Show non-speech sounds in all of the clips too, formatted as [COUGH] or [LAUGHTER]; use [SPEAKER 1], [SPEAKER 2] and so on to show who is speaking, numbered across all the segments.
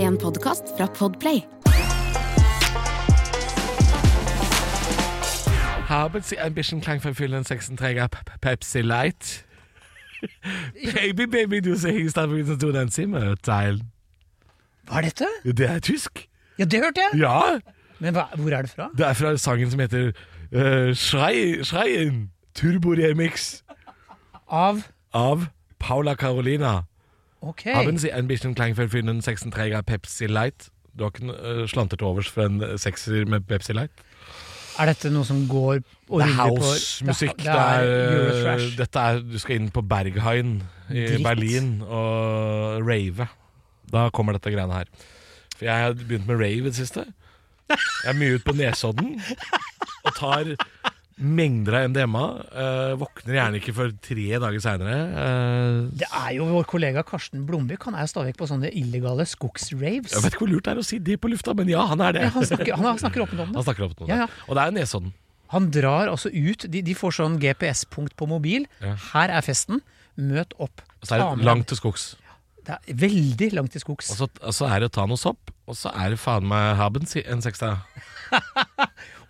[SPEAKER 1] En podcast fra Podplay
[SPEAKER 2] Habits, Ambition, Klang von Fühlen, 36er, P- P- Pepsi Light. Baby, baby, du ser hingst av uten to den simmerteilen.
[SPEAKER 3] Hva er dette?
[SPEAKER 2] Det er tysk.
[SPEAKER 3] Ja, det hørte jeg!
[SPEAKER 2] Ja,
[SPEAKER 3] Men hva, hvor er det fra?
[SPEAKER 2] det er fra sangen som heter eh, Schrei, Schreien, Turbo Remix
[SPEAKER 3] Av
[SPEAKER 2] av Paula Carolina.
[SPEAKER 3] Ok.
[SPEAKER 2] Haben Sie Ambition, Klang von Fühlen, 36er, Pepsi Light. Du har ikke uh, slantet overs for en eh, sekser med Pepsi Light?
[SPEAKER 3] Er dette noe som går og
[SPEAKER 2] Det er
[SPEAKER 3] ruller på
[SPEAKER 2] house-musikk.
[SPEAKER 3] Det er,
[SPEAKER 2] det er, eh,
[SPEAKER 3] Eurotrash.
[SPEAKER 2] dette er Du skal inn på Berghain i
[SPEAKER 3] Dritt.
[SPEAKER 2] Berlin og rave. Da kommer dette greiene her. For jeg har begynt med rave i det siste. Jeg er mye ute på Nesodden og tar mengder av MDMA. eh, våkner gjerne ikke før tre dager Eh, seinere.
[SPEAKER 3] Det er jo vår kollega Karsten Blomvik. Han er jo stadig vekk på sånne illegale skogsraves.
[SPEAKER 2] jeg vet ikke hvor lurt det er å si det på lufta, men ja, han er det.
[SPEAKER 3] Ja, han snakker, han snakker åpent om
[SPEAKER 2] Han
[SPEAKER 3] det.
[SPEAKER 2] snakker opp noe.
[SPEAKER 3] Ja, ja.
[SPEAKER 2] Og det er Nesodden.
[SPEAKER 3] Han drar altså ut. De, de får sånn GPS-punkt på mobil.
[SPEAKER 2] Ja.
[SPEAKER 3] Her er festen. Møt opp.
[SPEAKER 2] Og så er
[SPEAKER 3] Ta
[SPEAKER 2] det
[SPEAKER 3] med-
[SPEAKER 2] langt til skogs.
[SPEAKER 3] Det er veldig langt til skogs.
[SPEAKER 2] Og så, og så er det å ta noe sopp, og så er det faen meg haben, si- en seksta.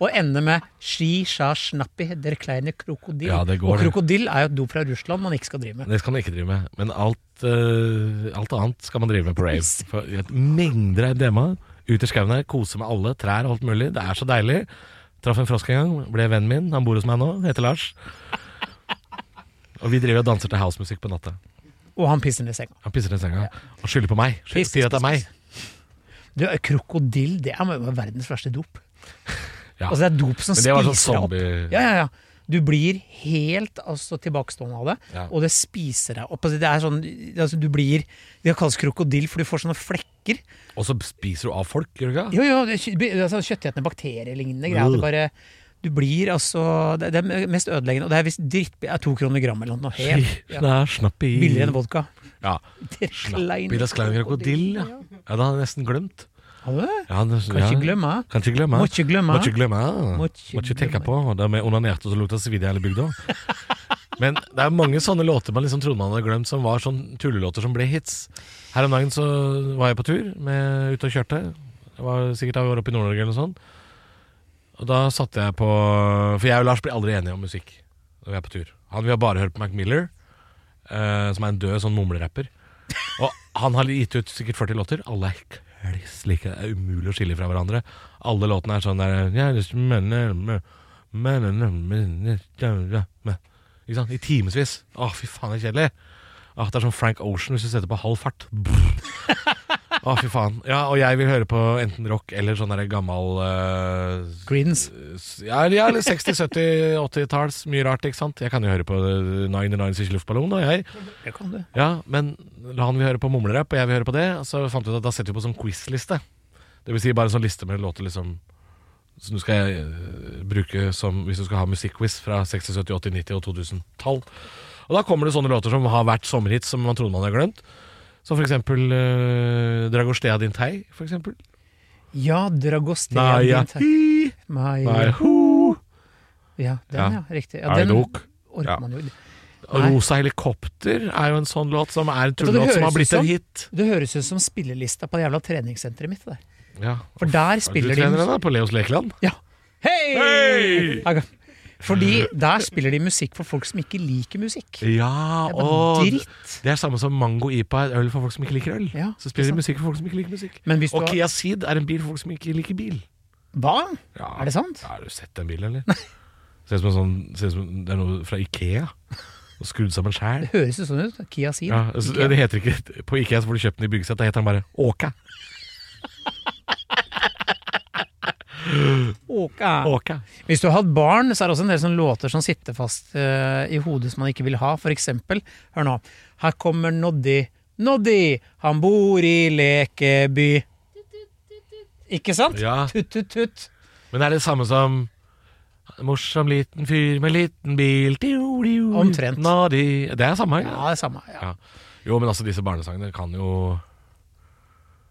[SPEAKER 3] Og ender med ski, sja, snappi, der kleine krokodill.
[SPEAKER 2] Ja, det går,
[SPEAKER 3] og
[SPEAKER 2] det.
[SPEAKER 3] krokodill er jo et dop fra Russland man ikke skal drive med.
[SPEAKER 2] Det skal man ikke drive med. Men alt, eh, alt annet skal man drive med på rave. For et Mengder av DMA. Ut i skauen her, kose med alle, trær og alt mulig. Det er så deilig. Traff en frosk en gang, ble vennen min. Han bor hos meg nå, heter Lars. Og vi driver og danser til housemusikk på natta.
[SPEAKER 3] Og han pisser ned senga.
[SPEAKER 2] Han pisser i senga og skylder på meg. Skylder,
[SPEAKER 3] Piss,
[SPEAKER 2] sier at det er meg.
[SPEAKER 3] Du, krokodill, det er jo verdens verste dop.
[SPEAKER 2] [LAUGHS] Ja.
[SPEAKER 3] Altså det er dop som
[SPEAKER 2] Men det var
[SPEAKER 3] spiser
[SPEAKER 2] sånn zombie-
[SPEAKER 3] opp. Ja, ja, ja. Du blir helt altså, tilbakestående av det,
[SPEAKER 2] Ja.
[SPEAKER 3] og det spiser deg opp. Altså, det er sånn, altså, du blir, det kalles krokodill, for du får sånne flekker.
[SPEAKER 2] Og så spiser du av folk, gjør du ikke? det?
[SPEAKER 3] Jo, jo, det er kjø- det er sånn kjøttetende bakterielignende greier. Det bare, du blir altså Det, det er mest ødeleggende. Og det er visst drittbi- det er to kroner gram eller noe. Helt
[SPEAKER 2] Fy,
[SPEAKER 3] ja.
[SPEAKER 2] det er Snapp i
[SPEAKER 3] billigere enn vodka. [LAUGHS]
[SPEAKER 2] Ja.
[SPEAKER 3] Det er
[SPEAKER 2] Snapp i
[SPEAKER 3] klein
[SPEAKER 2] det sklein krokodille. Ja. ja, det hadde jeg nesten glemt.
[SPEAKER 3] Har du det?
[SPEAKER 2] Ja, det,
[SPEAKER 3] Kan ikke glemme.
[SPEAKER 2] Kan ikke glemme.
[SPEAKER 3] Må ikke glemme.
[SPEAKER 2] Må ikke glemme.
[SPEAKER 3] Må
[SPEAKER 2] Må
[SPEAKER 3] ikke
[SPEAKER 2] ikke tenke
[SPEAKER 3] glemme.
[SPEAKER 2] på. Da vi onanerte og så lukta svidd i hele bygda. Men det er mange sånne låter man liksom trodde man hadde glemt, som var sånn tullelåter som ble hits. Her om dagen så var jeg på tur, med, ute og kjørte. Jeg var sikkert da vi var oppe i Nord-Norge eller noe sånt. Og da satte jeg på For jeg og Lars blir aldri enige om musikk når vi er på tur. Han vil bare høre på Mac Miller, eh, som er en død sånn mumlerapper. Og han har gitt ut sikkert 40 låter. Alle er kliss like. Det er umulig å skille fra hverandre. Alle låtene er sånn der «Jeg har lyst til å menne- menne- menne- menne- menne- menne». Ikke sant? I timevis. Å, fy faen, det er kjedelig. Å, det er som Frank Ocean hvis du setter på halv fart. Brr. Å, fy faen. Ja, og jeg vil høre på enten rock eller sånn der gammal eh,
[SPEAKER 3] Creedence.
[SPEAKER 2] ja, eller- ja, eller 60-, 70-, 80-talls. Mye rart, ikke sant? Jeg kan jo høre på eh, 99 Siste Luftballon, og jeg.
[SPEAKER 3] Det kan du.
[SPEAKER 2] Ja, men la han vil høre på mumlerapp, og jeg vil høre på det. og Så fant vi ut at da setter vi på sånn quizliste. Det vil si bare en sånn liste med låter liksom som du skal eh, bruke som, hvis du skal ha musikkquiz fra 60-, 70-, 80-, 90- og 2000-tall. Og da kommer det sånne låter som har vært sommerhits som man trodde man hadde glemt. Som for eksempel uh, Dragostea din tei, for eksempel.
[SPEAKER 3] Ja, Dragostea
[SPEAKER 2] Naja.
[SPEAKER 3] din te- Mai.
[SPEAKER 2] Nei, ho.
[SPEAKER 3] Ja, den,
[SPEAKER 2] Ja.
[SPEAKER 3] ja. Riktig. Ja,
[SPEAKER 2] Er det
[SPEAKER 3] den
[SPEAKER 2] dok?
[SPEAKER 3] orker
[SPEAKER 2] Ja.
[SPEAKER 3] man jo.
[SPEAKER 2] Og
[SPEAKER 3] Nei.
[SPEAKER 2] Rosa helikopter er jo en sånn låt som er en
[SPEAKER 3] du, det
[SPEAKER 2] tullelåt som
[SPEAKER 3] høres
[SPEAKER 2] har blitt
[SPEAKER 3] ut som-
[SPEAKER 2] en hit.
[SPEAKER 3] Det høres ut som spillelista på det jævla treningssenteret mitt. der.
[SPEAKER 2] Ja.
[SPEAKER 3] For der
[SPEAKER 2] Du
[SPEAKER 3] spiller
[SPEAKER 2] trener
[SPEAKER 3] de
[SPEAKER 2] den da på Leos Lekeland?
[SPEAKER 3] Ja. Hei!
[SPEAKER 2] Hei!
[SPEAKER 3] Aga. Fordi der spiller de musikk for folk som ikke liker musikk.
[SPEAKER 2] Ja,
[SPEAKER 3] Det
[SPEAKER 2] og
[SPEAKER 3] er bare dritt.
[SPEAKER 2] Det er samme som mango IPA er øl for folk som ikke liker øl.
[SPEAKER 3] Ja,
[SPEAKER 2] så spiller de
[SPEAKER 3] ikke sant.
[SPEAKER 2] musikk for folk som ikke liker musikk.
[SPEAKER 3] Men hvis du
[SPEAKER 2] Og
[SPEAKER 3] har-
[SPEAKER 2] Kia Ceed er en bil for folk som ikke liker bil.
[SPEAKER 3] Hva?
[SPEAKER 2] Ja.
[SPEAKER 3] Er det sant?
[SPEAKER 2] Ja, har du sett den bilen, eller? Ser ut som en sånn ser ut som Det er noe fra Ikea. Og skrudd sammen sjæl. [LAUGHS]
[SPEAKER 3] Det høres jo sånn ut. Kia Ceed.
[SPEAKER 2] Ja, altså,
[SPEAKER 3] Ikea.
[SPEAKER 2] Det heter ikke På Ikea så får du kjøpt den i byggesett. Da heter den bare Åka. eh,
[SPEAKER 3] Åka.
[SPEAKER 2] Åka.
[SPEAKER 3] Hvis du har hatt barn, så er det også en del sånne låter som sitter fast eh, i hodet som man ikke vil ha. For eksempel, hør nå. Her kommer Noddi, Noddi, han bor i Lekeby. Ikke sant?
[SPEAKER 2] Ja.
[SPEAKER 3] Tut, tut, tut.
[SPEAKER 2] Men er det samme som Morsom liten fyr med liten bil Tiu, tiu,
[SPEAKER 3] Omtrent.
[SPEAKER 2] nadi. Det er samme?
[SPEAKER 3] Ja, det er samme. Ja.
[SPEAKER 2] Ja. Jo, men altså, disse barnesangene kan jo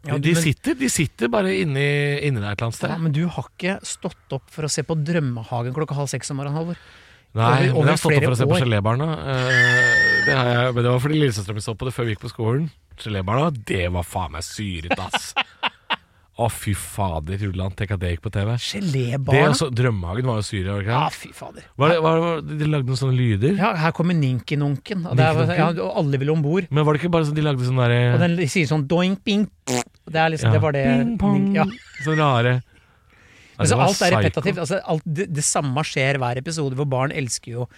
[SPEAKER 3] Ja,
[SPEAKER 2] de,
[SPEAKER 3] men-
[SPEAKER 2] sitter, de sitter bare inni, inni der et eller annet sted.
[SPEAKER 3] Ja, men du har ikke stått opp for å se på Drømmehagen klokka halv seks om morgenen, Halvor.
[SPEAKER 2] Nei, men
[SPEAKER 3] over-
[SPEAKER 2] jeg har stått
[SPEAKER 3] over
[SPEAKER 2] opp for å se på
[SPEAKER 3] flere år.
[SPEAKER 2] gelébarna. Eh, det, har jeg, men det var fordi lillesøsteren min så på det før vi gikk på skolen. Gelébarna, det var faen meg syret, ass. Å, fy fader, Rulland. Tenk at det gikk på TV. Det, altså-
[SPEAKER 3] Gelébarna?
[SPEAKER 2] også, Drømmehagen var jo syret, var det ikke
[SPEAKER 3] Ja,
[SPEAKER 2] det?
[SPEAKER 3] fy fader.
[SPEAKER 2] Var det, var det, var det? De lagde noen sånne lyder.
[SPEAKER 3] Ja, her kommer ninkinunken. Og, det er- ja, og alle ville om bord.
[SPEAKER 2] Men var det ikke bare sånn de lagde sånn derre
[SPEAKER 3] Og den sier sånn doink, bing. Det, er liksom,
[SPEAKER 2] Ja.
[SPEAKER 3] det var det
[SPEAKER 2] Ping pong.
[SPEAKER 3] ning- Ja.
[SPEAKER 2] Sånn rare Nei, det
[SPEAKER 3] Altså,
[SPEAKER 2] var
[SPEAKER 3] alt er
[SPEAKER 2] psycho.
[SPEAKER 3] repetitivt. Altså, alt, det, det samme skjer hver episode, hvor barn elsker jo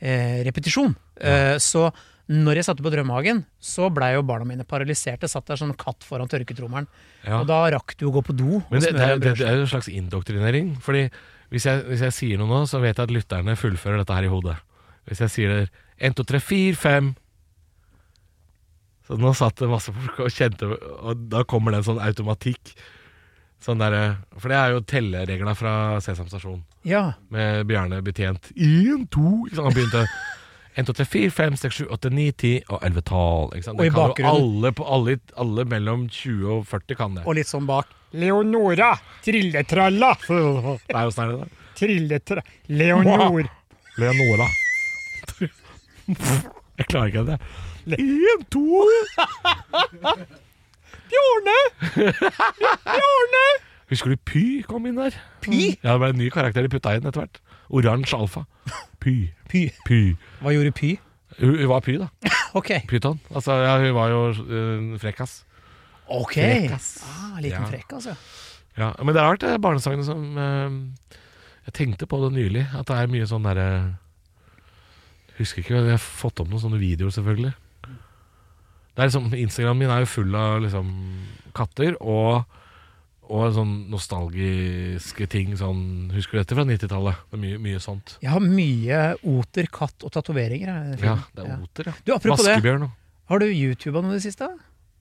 [SPEAKER 3] eh, repetisjon. Eh, så når jeg satte på Drømmehagen, så blei jo barna mine paralyserte. Satt der som en katt foran tørketrommelen.
[SPEAKER 2] Ja.
[SPEAKER 3] Og da rakk du å gå på do. og
[SPEAKER 2] Men det,
[SPEAKER 3] smøre
[SPEAKER 2] det, er,
[SPEAKER 3] en
[SPEAKER 2] det,
[SPEAKER 3] brødskive.
[SPEAKER 2] det er jo en slags indoktrinering. Fordi hvis jeg, hvis jeg sier noe nå, så vet jeg at lytterne fullfører dette her i hodet. Hvis jeg sier 1, 2, 3, 4, 5 Så nå satt det masse folk og kjente Og da kommer det en sånn automatikk. Sånn der, for det er jo tellereglene fra Sesam stasjon,
[SPEAKER 3] Ja.
[SPEAKER 2] med Bjarne betjent. 1, 2 ikke sant? Han
[SPEAKER 3] [LAUGHS]
[SPEAKER 2] begynte 1, 2, 3, 4, 5, 6, 7, 8, 9, 10 og 11 tall. Ikke sant?
[SPEAKER 3] Og i
[SPEAKER 2] Det kan jo
[SPEAKER 3] bakgrunnen-
[SPEAKER 2] alle, på- alle, alle mellom 20 og 40 kan det.
[SPEAKER 3] Og litt sånn bak.
[SPEAKER 4] Leonora, trilletralla,
[SPEAKER 2] Det er jo sånn er det da.
[SPEAKER 4] trilletra... Leonor,
[SPEAKER 3] [LAUGHS]
[SPEAKER 2] Leonora. Jeg klarer ikke det. En,
[SPEAKER 3] [LAUGHS]
[SPEAKER 2] to
[SPEAKER 3] Bjørne!
[SPEAKER 2] Husker du Py kom inn der?
[SPEAKER 3] Py?
[SPEAKER 2] Ja, det ble en ny karakter de putta inn etter hvert. Oransje alfa. Py.
[SPEAKER 3] Py.
[SPEAKER 2] Py.
[SPEAKER 3] Hva gjorde Py?
[SPEAKER 2] Hun, hun var Py, da.
[SPEAKER 3] Ok.
[SPEAKER 2] Pyton. Altså, ja, hun var jo øh, frekkas.
[SPEAKER 3] Ok. Ah,
[SPEAKER 2] Ja.
[SPEAKER 3] liten frekk, altså.
[SPEAKER 2] Ja, men det er rart, det er barnesangene som eh, Jeg tenkte på det nylig, at det er mye sånn derre Husker ikke, jeg har fått opp noen sånne videoer, selvfølgelig. Det er liksom, Instagramen min er jo full av liksom katter og, og sånn nostalgiske ting. Sånn, husker du dette fra 90-tallet? Det er mye, mye sånt.
[SPEAKER 3] Jeg har mye oter, katt og tatoveringer. jeg, i den
[SPEAKER 2] Ja,
[SPEAKER 3] filmen.
[SPEAKER 2] det er oter, ja.
[SPEAKER 3] Du, apropos det.
[SPEAKER 2] Vaskebjørn og
[SPEAKER 3] Har du YouTuba noe i det siste?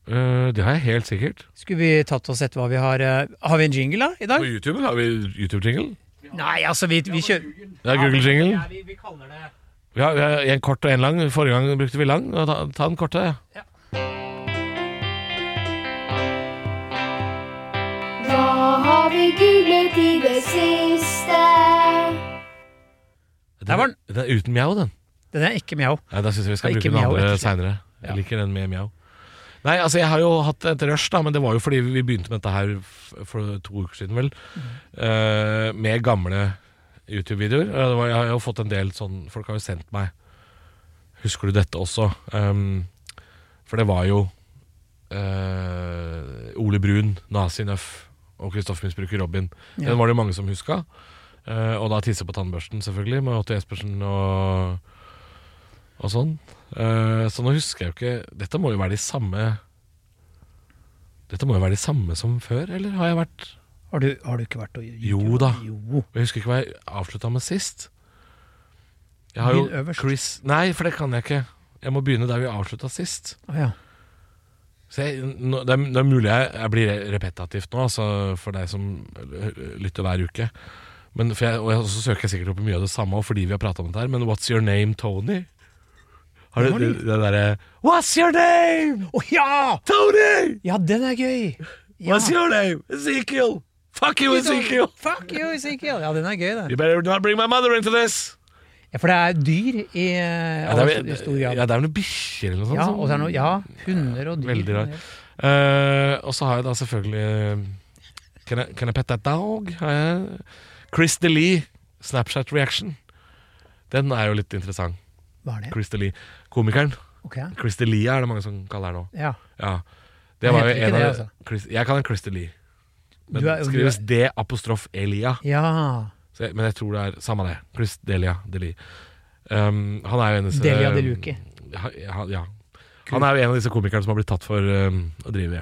[SPEAKER 2] Eh, Det har jeg helt sikkert.
[SPEAKER 3] Skulle vi tatt og sett hva vi har eh, Har vi en jingle da, i dag?
[SPEAKER 2] På YouTube har vi YouTube-jingle.
[SPEAKER 3] Nei, altså, vi, vi kjører
[SPEAKER 2] Det er Google-jingle.
[SPEAKER 3] vi, kaller det
[SPEAKER 2] Vi har, vi har en kort og en lang. Forrige gang brukte vi lang. og Ta, ta den korte. Ja.
[SPEAKER 5] Hva har vi googlet i det siste?
[SPEAKER 2] Den,
[SPEAKER 3] var den.
[SPEAKER 2] den er uten mjau, den.
[SPEAKER 3] Den er ikke mjau.
[SPEAKER 2] Ja, da syns jeg vi skal
[SPEAKER 3] Ja, ikke
[SPEAKER 2] bruke den
[SPEAKER 3] mjau,
[SPEAKER 2] andre
[SPEAKER 3] rett og slett.
[SPEAKER 2] seinere.
[SPEAKER 3] Ja.
[SPEAKER 2] Jeg liker den med mjau. Nei, altså jeg har jo hatt et rush, da, men det var jo fordi vi begynte med dette her f- for to uker siden, vel. eh, med gamle YouTube-videoer. Eh, det var- Jeg har jo fått en del sånn Folk har jo sendt meg Husker du dette også? Um, for det var jo eh, Ole Brun, Nazi Nøff og Kristoffer Misbruker Robin.
[SPEAKER 3] Ja.
[SPEAKER 2] Den var det jo mange som huska. Eh, og da tisse på tannbørsten, selvfølgelig, med Otto Jespersen og, og sånn. Eh, så nå husker jeg jo ikke Dette må jo være de samme Dette må jo være de samme som før, eller har jeg vært
[SPEAKER 3] Har du, har du ikke vært og
[SPEAKER 2] Jo da.
[SPEAKER 3] Jo.
[SPEAKER 2] Jeg husker ikke hva jeg avslutta med sist. Jeg har jo
[SPEAKER 3] Begynn øverst.
[SPEAKER 2] Chris Nei, for det kan jeg ikke. Jeg må begynne der vi avslutta sist.
[SPEAKER 3] Å, ja.
[SPEAKER 2] Så jeg, nå, det, er, det er mulig jeg, jeg blir repetativt nå, altså for deg som l- lytter hver uke. Men for jeg, og jeg, så søker jeg sikkert opp mye av det samme også fordi vi har prata om dette her, men What's Your Name, Tony? Har du
[SPEAKER 3] Den har
[SPEAKER 2] det,
[SPEAKER 3] du.
[SPEAKER 2] det derre What's your name,
[SPEAKER 3] Å, ja!
[SPEAKER 2] Tony?
[SPEAKER 3] Ja, den er
[SPEAKER 2] [LAUGHS]
[SPEAKER 3] gøy! Ja.
[SPEAKER 2] What's your name, Ezekiel? Fuck you, Ezekiel!
[SPEAKER 3] Fuck you, Ezekiel! Ja, den er gøy, den.
[SPEAKER 2] You better not bring my mother into this!
[SPEAKER 3] Ja, for det er dyr i, eh,
[SPEAKER 2] Ja, det er,
[SPEAKER 3] all- i stor
[SPEAKER 2] vel-
[SPEAKER 3] grad.
[SPEAKER 2] ja, det er vel noen bikkjer eller noe sånt.
[SPEAKER 3] Ja,
[SPEAKER 2] som-
[SPEAKER 3] og så er det noe, ja, hunder og dyr.
[SPEAKER 2] Veldig rar. Eh, og så har jeg da selvfølgelig eh, Can I, can I pet that dog? Har jeg. Chris DeLee, Snapchat Reaction. Den er jo litt interessant.
[SPEAKER 3] Hva er det?
[SPEAKER 2] Chris DeLee. Komikeren.
[SPEAKER 3] Ok.
[SPEAKER 2] Chris DeLee er det mange som kaller her nå.
[SPEAKER 3] Ja.
[SPEAKER 2] Ja.
[SPEAKER 3] Jeg
[SPEAKER 2] Det var
[SPEAKER 3] heter
[SPEAKER 2] jo en
[SPEAKER 3] ikke
[SPEAKER 2] av
[SPEAKER 3] det,
[SPEAKER 2] de-
[SPEAKER 3] altså.
[SPEAKER 2] Chris, Jeg kaller den Chris DeLee. Men
[SPEAKER 3] Du er-
[SPEAKER 2] det
[SPEAKER 3] du
[SPEAKER 2] skrives
[SPEAKER 3] er-
[SPEAKER 2] D apostrof Elia.
[SPEAKER 3] ja.
[SPEAKER 2] Så jeg, men jeg tror det er samme det. Chris Delia Delie. Um, han er jo en av disse
[SPEAKER 3] Delia De Luca.
[SPEAKER 2] Ja, ja, ja. Han er jo en av disse komikerne som har blitt tatt for um, å drive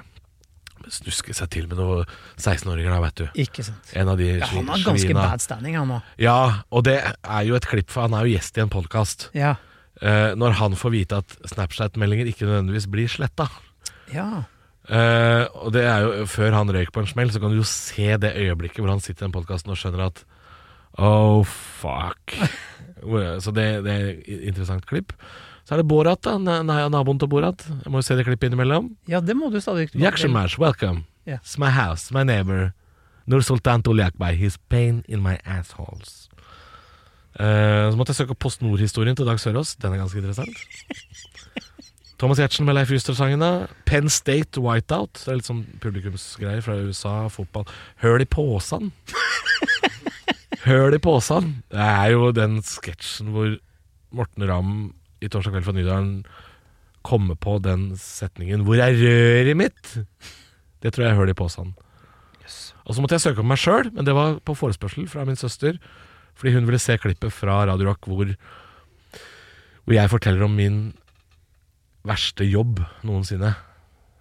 [SPEAKER 2] Snuske seg til med noen 16-åringer, da, vet du.
[SPEAKER 3] Ikke sant.
[SPEAKER 2] En av de
[SPEAKER 3] Ja, han har
[SPEAKER 2] svi-
[SPEAKER 3] ganske
[SPEAKER 2] svina.
[SPEAKER 3] bad standing, han òg.
[SPEAKER 2] Ja, og det er jo et klipp, for han er jo gjest i en Eh, podkast.
[SPEAKER 3] Ja.
[SPEAKER 2] når han får vite at Snapchat-meldinger ikke nødvendigvis blir sletta.
[SPEAKER 3] Ja.
[SPEAKER 2] Eh, og det er jo Før han røyk på en smell, så kan du jo se det øyeblikket hvor han sitter i den podkasten og skjønner at Oh, fuck. Hvor- Så det, det er et interessant klipp. Så er det Borat, da. Na- na- Naboen til Borat. Jeg må jo se det klippet innimellom.
[SPEAKER 3] ja, det må du stadig
[SPEAKER 2] Yakshimash, welcome.
[SPEAKER 3] Ja.
[SPEAKER 2] It's my house, my neighbor. Nur Sultan Tuliakbay, his pain in my assholes. Eh, så måtte jeg søke opp Post Nord-historien til Dag Sørås. Den er ganske interessant. Thomas Giertsen med Leif Juster-sangen. da. Penn State Whiteout. Det er litt sånn publikumsgreier fra USA, fotball. Høl i påsan. Høl i påsan. Det er jo den sketsjen hvor Morten Ramm i 'Torsdag kveld fra Nydalen' komme på den setningen 'Hvor er røret mitt?' Det tror jeg er høl i posen. Og så måtte jeg søke om meg sjøl, men det var på forespørsel fra min søster. Fordi hun ville se klippet fra Radio Rock hvor, hvor jeg forteller om min verste jobb noensinne.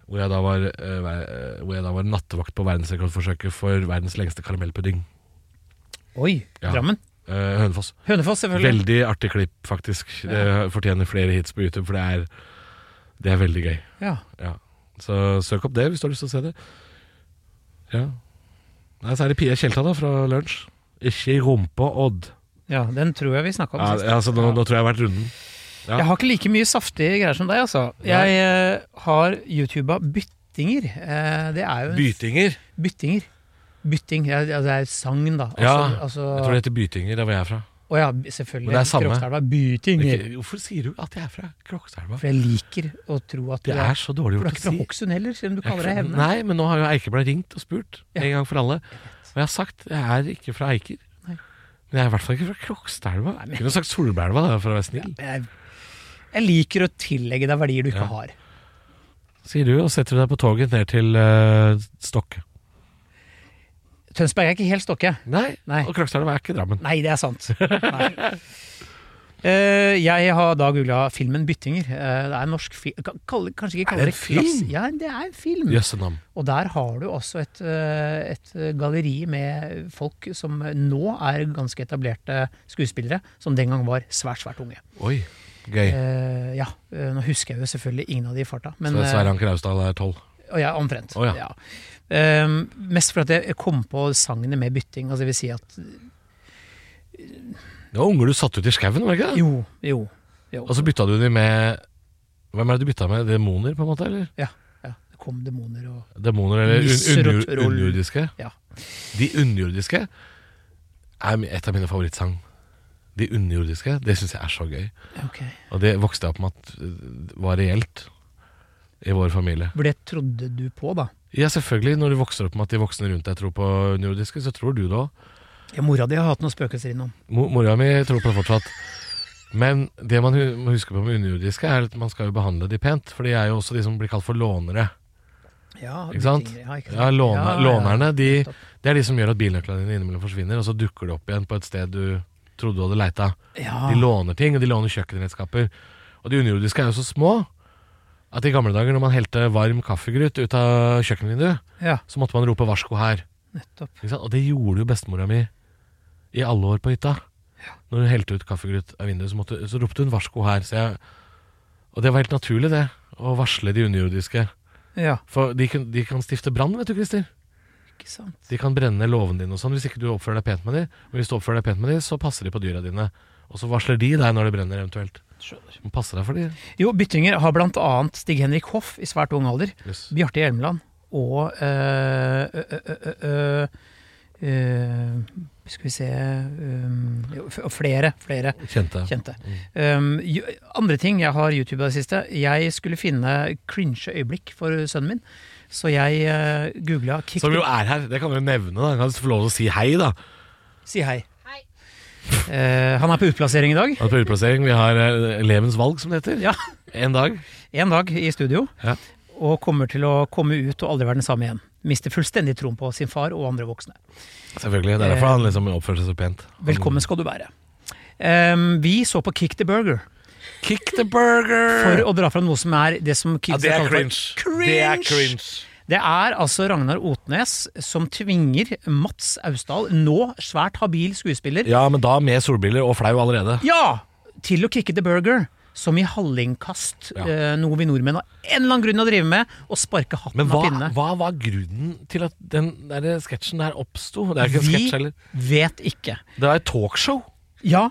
[SPEAKER 2] Hvor jeg da var, eh, ver- eh, hvor jeg da var nattevakt på verdensrekordforsøket for verdens lengste karamellpudding.
[SPEAKER 3] Oi,
[SPEAKER 2] Ja.
[SPEAKER 3] Drammen.
[SPEAKER 2] Eh, Hønefoss.
[SPEAKER 3] Hønefoss, selvfølgelig.
[SPEAKER 2] Veldig artig klipp, faktisk. Det fortjener flere hits på YouTube, for det er, det er veldig gøy.
[SPEAKER 3] Ja.
[SPEAKER 2] Ja. Så søk opp det hvis du har lyst til å se det. Ja. Nei, så er det Pia Tjelta da, fra lunsj. Ikke i rumpa, Odd.
[SPEAKER 3] ja, den tror jeg vi snakka om
[SPEAKER 2] Ja,
[SPEAKER 3] sist.
[SPEAKER 2] altså, nå, nå tror jeg jeg har vært runden. Ja.
[SPEAKER 3] Jeg har ikke like mye saftige greier som deg, altså.
[SPEAKER 2] Nei.
[SPEAKER 3] Jeg eh, har YouTuba byttinger. Eh, det er jo en-
[SPEAKER 2] Bytinger.
[SPEAKER 3] Byttinger. Bytting. Ja, ja, det er sagn, da. Altså,
[SPEAKER 2] Ja,
[SPEAKER 3] altså,
[SPEAKER 2] jeg tror det heter Bytinger, der hvor jeg er fra.
[SPEAKER 3] Å ja, b- selvfølgelig.
[SPEAKER 2] Men det er samme.
[SPEAKER 3] Krokstadelva. Byttinger.
[SPEAKER 2] Ikke, hvorfor sier du at jeg er fra Krokstadelva?
[SPEAKER 3] For jeg liker å tro at
[SPEAKER 2] Det er så dårlig
[SPEAKER 3] For du er
[SPEAKER 2] gjort å
[SPEAKER 3] ikke fra
[SPEAKER 2] si.
[SPEAKER 3] Hokksund heller, selv om du
[SPEAKER 2] Jeg er
[SPEAKER 3] kaller deg
[SPEAKER 2] ikke fra-
[SPEAKER 3] Hevne.
[SPEAKER 2] Nei, men nå har jo Eikeblad ringt og spurt
[SPEAKER 3] Ja.
[SPEAKER 2] en gang for alle. Og jeg har sagt jeg er ikke fra Eiker.
[SPEAKER 3] Nei.
[SPEAKER 2] Men jeg er i hvert fall ikke fra Krokstadelva.
[SPEAKER 3] Nei,
[SPEAKER 2] Jeg
[SPEAKER 3] men-
[SPEAKER 2] kunne sagt Solbergelva, da, for å være snill.
[SPEAKER 3] Jeg, jeg liker å tillegge deg verdier du ikke
[SPEAKER 2] Ja.
[SPEAKER 3] har.
[SPEAKER 2] Sier du, og setter deg på toget ned til eh, Stokke.
[SPEAKER 3] Tønsberg er ikke helt stokke.
[SPEAKER 2] Nei,
[SPEAKER 3] Nei.
[SPEAKER 2] og Krokstadelva er ikke Drammen.
[SPEAKER 3] Nei, det er sant. Nei. Eh, jeg har da googla filmen 'Byttinger'. Eh, det er en norsk film Kanskje ikke kalle
[SPEAKER 2] det en
[SPEAKER 3] det klass-
[SPEAKER 2] film?
[SPEAKER 3] Ja, det er en film.
[SPEAKER 2] Jøsse navn.
[SPEAKER 3] Og der har du også et, eh, et galleri med folk som nå er ganske etablerte skuespillere, som den gang var svært, svært unge.
[SPEAKER 2] Oi, gøy.
[SPEAKER 3] Eh, ja, eh, Nå husker jeg jo selvfølgelig ingen av de i farta. Men,
[SPEAKER 2] så det er
[SPEAKER 3] eh,
[SPEAKER 2] Sverre Anker Austdal er tolv.
[SPEAKER 3] Og jeg er omtrent.
[SPEAKER 2] Å, ja.
[SPEAKER 3] ja. Ehm, mest fordi jeg kom på sangene med bytting. Altså, det vil si at
[SPEAKER 2] Det var unger du satte ut i skauen, var det ikke det?
[SPEAKER 3] Jo, jo. jo.
[SPEAKER 2] Og så bytta du de med Hvem er det du bytta med? Demoner, på en måte? eller?
[SPEAKER 3] ja, ja. Det kom demoner og
[SPEAKER 2] Demoner eller un
[SPEAKER 3] Nisser og
[SPEAKER 2] underjord-
[SPEAKER 3] troll.
[SPEAKER 2] underjordiske?
[SPEAKER 3] Ja.
[SPEAKER 2] De underjordiske er mi- et av mine favorittsang. De underjordiske, det syns jeg er så gøy.
[SPEAKER 3] Ok.
[SPEAKER 2] Og det vokste jeg opp med at øh, var reelt i vår familie.
[SPEAKER 3] For det trodde du på, da.
[SPEAKER 2] Ja, selvfølgelig. Når du vokser opp med at de voksne rundt deg tror på underjordiske, så tror du det òg.
[SPEAKER 3] Ja, Mora di har hatt noen spøkelser innom.
[SPEAKER 2] Mo- Mora mi tror på det fortsatt. Men det man hu- må huske på med underjordiske, er at man skal jo behandle de pent. For de er jo også de som blir kalt for lånere.
[SPEAKER 3] Ja,
[SPEAKER 2] Ikke sant?
[SPEAKER 3] byttinger, Ja, ikke sant?
[SPEAKER 2] Ja, låne,
[SPEAKER 3] Ja, ja, ja.
[SPEAKER 2] Lånerne de,
[SPEAKER 3] Nettopp.
[SPEAKER 2] det er de som gjør at bilnøklene dine innimellom forsvinner, og så dukker de opp igjen på et sted du trodde du hadde leita.
[SPEAKER 3] Ja.
[SPEAKER 2] De låner ting, og de låner kjøkkenredskaper. Og de underjordiske er jo så små at i gamle dager når man helte varm kaffegryt ut av kjøkkenvinduet,
[SPEAKER 3] ja,
[SPEAKER 2] så måtte man rope varsko her.
[SPEAKER 3] nettopp.
[SPEAKER 2] Ikke sant? Og det gjorde jo bestemora mi i alle år på hytta. Når hun helte ut kaffegrut av vinduet, så, måtte, så ropte hun 'varsko her'. Så jeg, og det var helt naturlig, det. Å varsle de underjordiske.
[SPEAKER 3] Ja,
[SPEAKER 2] For de kan, de kan stifte brann, vet du, Christer.
[SPEAKER 3] ikke sant.
[SPEAKER 2] De kan brenne låven din og sånn hvis ikke du oppfører deg pent med de. Men hvis du oppfører deg pent med de, så passer de på dyra dine. Og så varsler de deg når det brenner, eventuelt. Du må passe deg for de.
[SPEAKER 3] Jo, Byttinger har blant annet Stig-Henrik Hoff i svært ung alder.
[SPEAKER 2] Yes.
[SPEAKER 3] Bjarte Hjelmeland og øh, øh, øh, øh, øh, øh, Skal vi se øh, jo, f- Flere, flere
[SPEAKER 2] Kjente.
[SPEAKER 3] kjente. Um, jo, andre ting jeg har YouTube det siste. Jeg skulle finne cringe øyeblikk for sønnen min, så jeg uh, googla kick
[SPEAKER 2] Som jo
[SPEAKER 3] the
[SPEAKER 2] er her. Det kan du jo nevne. da Kan du få lov til å si hei, da.
[SPEAKER 3] Si hei. Eh, han er på utplassering i dag.
[SPEAKER 2] Og på utplassering, vi har eh, elevens valg, som det heter.
[SPEAKER 3] Ja,
[SPEAKER 2] En dag.
[SPEAKER 3] En dag i studio.
[SPEAKER 2] Ja.
[SPEAKER 3] Og kommer til å komme ut og aldri være den samme igjen. Mister fullstendig troen på sin far og andre voksne.
[SPEAKER 2] Selvfølgelig. Det er derfor
[SPEAKER 3] Eh,
[SPEAKER 2] han liksom oppfører seg så pent. Han-
[SPEAKER 3] Velkommen skal du være. Ehm, vi så på Kick the Burger
[SPEAKER 2] Kick the burger!
[SPEAKER 3] for å dra fram noe som er det som kids kaller for
[SPEAKER 2] Det er
[SPEAKER 3] Cringe!
[SPEAKER 2] cringe.
[SPEAKER 3] Det er altså Ragnar Otnes som tvinger Mats Austdal, nå svært habil skuespiller,
[SPEAKER 2] Ja, men da med solbriller og flau allerede.
[SPEAKER 3] ja, til å kicke the burger. som i hallingkast.
[SPEAKER 2] Ja.
[SPEAKER 3] eh, noe vi nordmenn av en eller annen grunn å drive med, og sparke hatten
[SPEAKER 2] Men
[SPEAKER 3] av
[SPEAKER 2] hva,
[SPEAKER 3] pinnene.
[SPEAKER 2] hva var grunnen til at den der sketsjen der oppsto? Det er ikke en
[SPEAKER 3] Vi-
[SPEAKER 2] sketsj heller.
[SPEAKER 3] Vet ikke.
[SPEAKER 2] Det er et talkshow.
[SPEAKER 3] Ja,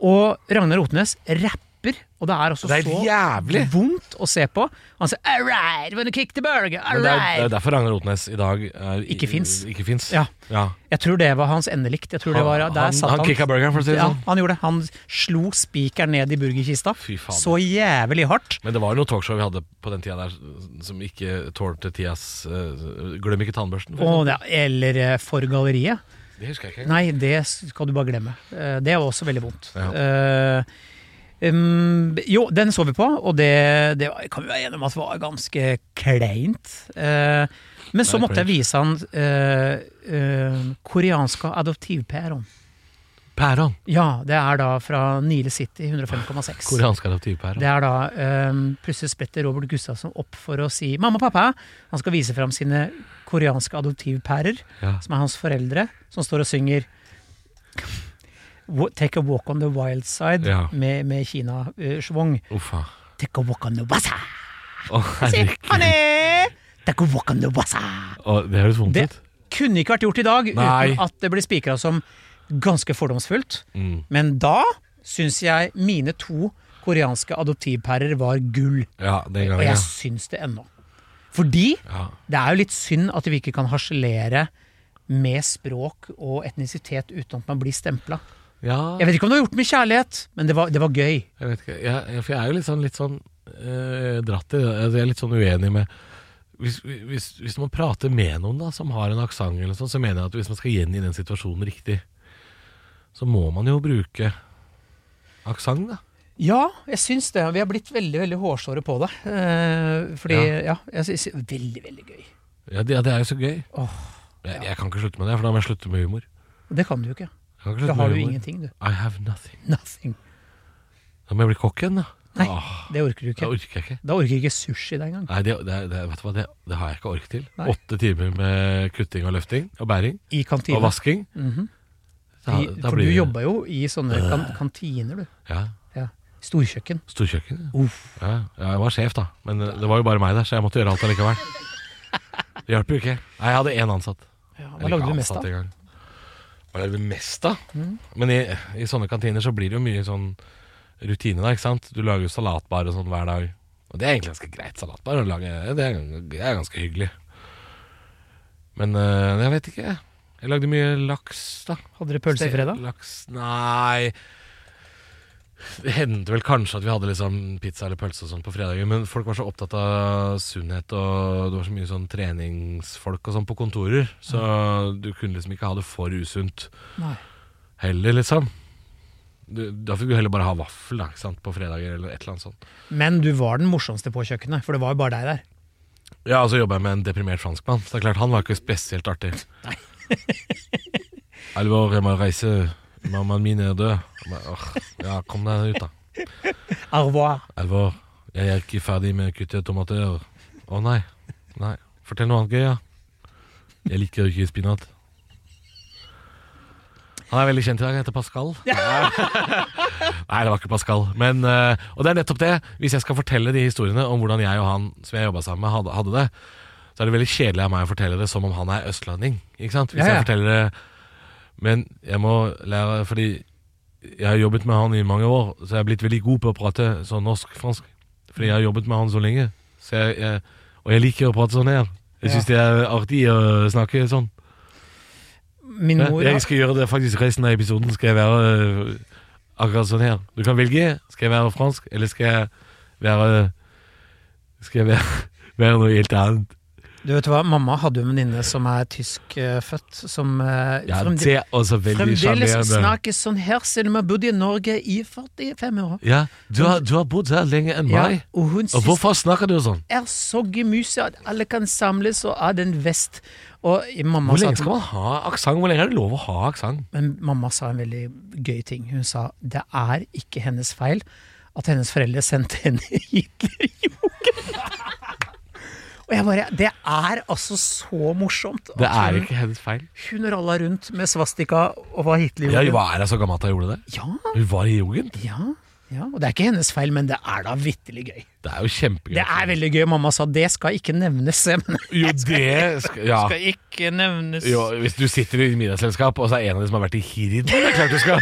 [SPEAKER 3] og Ragnar Otnes rapper, og det er også
[SPEAKER 2] Det er
[SPEAKER 3] så
[SPEAKER 2] jævlig.
[SPEAKER 3] vondt å se på. Han sier 'alright, when you kick the
[SPEAKER 2] Men
[SPEAKER 3] burger',
[SPEAKER 2] det er, det er
[SPEAKER 3] alright.
[SPEAKER 2] derfor Ragnar Otnes i dag er,
[SPEAKER 3] Ikke fins.
[SPEAKER 2] Ikke fins.
[SPEAKER 3] Ja.
[SPEAKER 2] ja.
[SPEAKER 3] Jeg tror det var hans endelikt. Jeg tror det var, der
[SPEAKER 2] han,
[SPEAKER 3] satt
[SPEAKER 2] han kicka burgeren, for å si det
[SPEAKER 3] Ja,
[SPEAKER 2] sånn.
[SPEAKER 3] han gjorde det. Han slo spikeren ned i burgerkista.
[SPEAKER 2] Fy faen.
[SPEAKER 3] Så jævlig hardt.
[SPEAKER 2] Men det var jo noe talkshow vi hadde på den tida der som ikke tålte tidas eh, Glem ikke tannbørsten. for
[SPEAKER 3] Og, ja, eller eh, for galleriet.
[SPEAKER 2] eksempel. Det husker jeg ikke.
[SPEAKER 3] Nei, det skal du bare glemme. Eh, Det var også veldig vondt.
[SPEAKER 2] Ja.
[SPEAKER 3] Eh, um, jo, den så vi på, og det, det var- kan vi være enige om at var ganske kleint. Eh, men så
[SPEAKER 2] Nei,
[SPEAKER 3] måtte jeg vise han eh, eh, koreanske adoptivpæron.
[SPEAKER 2] Pæron.
[SPEAKER 3] Ja, det er da fra Nile City 105,6.
[SPEAKER 2] Koreansk adoptivpæron.
[SPEAKER 3] Det er da ehm, Plutselig spretter Robert Gustavsson opp for å si mamma og pappa. Han skal vise fram sine koreanske adoptivpærer,
[SPEAKER 2] Ja.
[SPEAKER 3] som er hans foreldre, som står og synger Wa- Take a walk on the wild side
[SPEAKER 2] Ja.
[SPEAKER 3] med, med Kina-schwung.
[SPEAKER 2] Uffa.
[SPEAKER 3] Take a walk on the wasa!
[SPEAKER 2] ah. Å, herregud.
[SPEAKER 3] Honey! Take a walk on the wasa!
[SPEAKER 2] Å, det høres vondt
[SPEAKER 3] Det
[SPEAKER 2] ut.
[SPEAKER 3] kunne ikke vært gjort i dag
[SPEAKER 2] Nei.
[SPEAKER 3] uten at det blir spikra som ganske fordomsfullt.
[SPEAKER 2] Mm.
[SPEAKER 3] Men da syns jeg mine to koreanske adoptivpærer var gull.
[SPEAKER 2] Ja, den
[SPEAKER 3] Og
[SPEAKER 2] gangen. Ja.
[SPEAKER 3] jeg syns det ennå. Fordi
[SPEAKER 2] Ja.
[SPEAKER 3] det er jo litt synd at vi ikke kan harselere med språk og etnisitet uten at man blir stempla.
[SPEAKER 2] ja,
[SPEAKER 3] Jeg vet ikke om det var gjort med kjærlighet, men det var, det var gøy.
[SPEAKER 2] jeg vet ikke. Jeg, jeg- for jeg er jo litt sånn, litt sånn eh, dratt i det. Altså, Jeg er litt sånn uenig med hvis, hvis, hvis man prater med noen da som har en aksent, eller sånn, så mener jeg at hvis man skal gjengi den situasjonen riktig, så må man jo bruke aksent, da.
[SPEAKER 3] Ja, jeg syns det. Vi har blitt veldig veldig hårsåre på det. Eh, fordi, ja, jeg syns Veldig, veldig gøy.
[SPEAKER 2] Ja, det, ja, det er jo så gøy.
[SPEAKER 3] Åh,
[SPEAKER 2] jeg, jeg kan ikke slutte med det, for da må jeg slutte med humor.
[SPEAKER 3] Og det kan du jo ikke.
[SPEAKER 2] Jeg kan ikke
[SPEAKER 3] Da
[SPEAKER 2] slutte
[SPEAKER 3] har
[SPEAKER 2] med
[SPEAKER 3] du
[SPEAKER 2] humor.
[SPEAKER 3] ingenting, du.
[SPEAKER 2] I have nothing.
[SPEAKER 3] Nothing.
[SPEAKER 2] Da må jeg bli kokk igjen, da.
[SPEAKER 3] Nei,
[SPEAKER 2] Åh,
[SPEAKER 3] det orker du
[SPEAKER 2] det
[SPEAKER 3] ikke.
[SPEAKER 2] orker jeg ikke.
[SPEAKER 3] Da orker ikke sushi deg engang.
[SPEAKER 2] Nei, det, det, det, vet du hva, det, det har jeg ikke ork til.
[SPEAKER 3] Nei.
[SPEAKER 2] Åtte timer med kutting og løfting og bæring
[SPEAKER 3] I kantina.
[SPEAKER 2] og vasking. da,
[SPEAKER 3] I,
[SPEAKER 2] da
[SPEAKER 3] Mhm. for
[SPEAKER 2] blir
[SPEAKER 3] du
[SPEAKER 2] det-
[SPEAKER 3] jobba jo i sånne kan kantiner, du.
[SPEAKER 2] Ja.
[SPEAKER 3] Ja. Storkjøkken.
[SPEAKER 2] Storkjøkken.
[SPEAKER 3] Uff.
[SPEAKER 2] Ja. ja, jeg var sjef, da. Men eh, det var jo bare meg der, så jeg måtte gjøre alt allikevel. Det hjalp jo ikke. Nei, jeg hadde én ansatt.
[SPEAKER 3] Ja, hva
[SPEAKER 2] Eller ikke
[SPEAKER 3] lagde du mest
[SPEAKER 2] ansatt
[SPEAKER 3] av? Mhm.
[SPEAKER 2] engang. Hva lagde vi mest av? Men i, i sånne kantiner så blir det jo mye sånn rutine da, ikke sant? Du lager jo salatbar og sånn hver dag. Og det er egentlig ganske greit salatbar å lage. Det er, det er ganske hyggelig. Men eh, jeg vet ikke. Jeg lagde mye laks, da.
[SPEAKER 3] Hadde dere pølse i fredag?
[SPEAKER 2] Laks, nei Det hendte vel kanskje at vi hadde liksom pizza eller pølse og sånn på fredager, men folk var så opptatt av sunnhet, og det var så mye sånn treningsfolk og sånn på kontorer, så du kunne liksom ikke ha det for usunt
[SPEAKER 3] Nei.
[SPEAKER 2] heller, liksom. Du, da fikk du heller bare ha vaffel da, ikke sant? på fredager eller et eller annet sånt.
[SPEAKER 3] Men du var den morsomste på kjøkkenet, for det var jo bare deg der.
[SPEAKER 2] Ja, og så jobba jeg med en deprimert franskmann, så det er klart han var ikke spesielt artig. [LAUGHS] Alvor, jeg må reise. Mammaen min er død. Men, åh, Ja, kom deg ut, da.
[SPEAKER 3] Au revoir.
[SPEAKER 2] Alvor, jeg er ikke ferdig med å kutte tomater. Å nei. Nei. Fortell noe annet gøy, ja. Jeg liker ikke spinat. Han er veldig kjent i dag, han heter
[SPEAKER 3] [LAUGHS]
[SPEAKER 2] Pascal. Nei, det var ikke Pascal. Men, eh, og det er nettopp det. Hvis jeg skal fortelle de historiene om hvordan jeg og han som jeg jobba sammen med, hadde, hadde det, så er det veldig kjedelig av meg å fortelle det som om han er østlending. Ikke sant? Hvis
[SPEAKER 3] Ja, ja.
[SPEAKER 2] jeg forteller det Men jeg må lære Fordi jeg har jobbet med han i mange år, så jeg er blitt veldig god på å prate sånn norsk-fransk. Fordi jeg har jobbet med han så lenge. Så jeg, jeg, og jeg liker å prate sånn her. Jeg syns det er artig å snakke sånn.
[SPEAKER 3] Min
[SPEAKER 2] Ja,
[SPEAKER 3] mor
[SPEAKER 2] Jeg skal gjøre det faktisk resten av episoden. Skal jeg være øh, akkurat sånn her? Du kan velge. Skal jeg være fransk, eller skal jeg være Skal jeg være, [LAUGHS] være noe helt annet?
[SPEAKER 3] Du vet hva, mamma hadde jo en venninne som er tyskfødt, som eh,
[SPEAKER 2] Ja,
[SPEAKER 3] fremde-
[SPEAKER 2] det er også veldig
[SPEAKER 3] fremdeles
[SPEAKER 2] sjarmerende.
[SPEAKER 3] snakker sånn her, selv om hun har bodd i Norge i 45 år.
[SPEAKER 2] Ja, du har, du har bodd her lenger enn
[SPEAKER 3] Ja,
[SPEAKER 2] meg.
[SPEAKER 3] og
[SPEAKER 2] Og
[SPEAKER 3] hun syns
[SPEAKER 2] hvorfor snakker du sånn?
[SPEAKER 3] er så gemyse at alle kan samles og ha den vest. Og mamma
[SPEAKER 2] Hvor
[SPEAKER 3] sa,
[SPEAKER 2] lenge
[SPEAKER 3] at,
[SPEAKER 2] skal man ha aksent? Hvor lenge er det lov å ha aksent?
[SPEAKER 3] men mamma sa en veldig gøy ting. Hun sa det er ikke hennes feil at hennes foreldre sendte henne Hitlerjugend. [LAUGHS] Og jeg bare, Det er altså så morsomt. at
[SPEAKER 2] Det er
[SPEAKER 3] hun-
[SPEAKER 2] ikke hennes feil.
[SPEAKER 3] Hun ralla rundt med svastika og var
[SPEAKER 2] Ja,
[SPEAKER 3] Hitlerjugend.
[SPEAKER 2] hva er hun så gammel at hun gjorde det?
[SPEAKER 3] Ja,
[SPEAKER 2] Hun var i jugend?
[SPEAKER 3] ja, Ja, og det er ikke hennes feil, men det er da vitterlig gøy.
[SPEAKER 2] Det er jo kjempegøy.
[SPEAKER 3] Det er veldig gøy. Mamma sa det skal ikke nevnes. Jeg mener,
[SPEAKER 2] Jo, det skal, ja.
[SPEAKER 3] skal ikke nevnes.
[SPEAKER 2] jo, Hvis du sitter i middagsselskap, og så er en av de som har vært i hird Det er klart du skal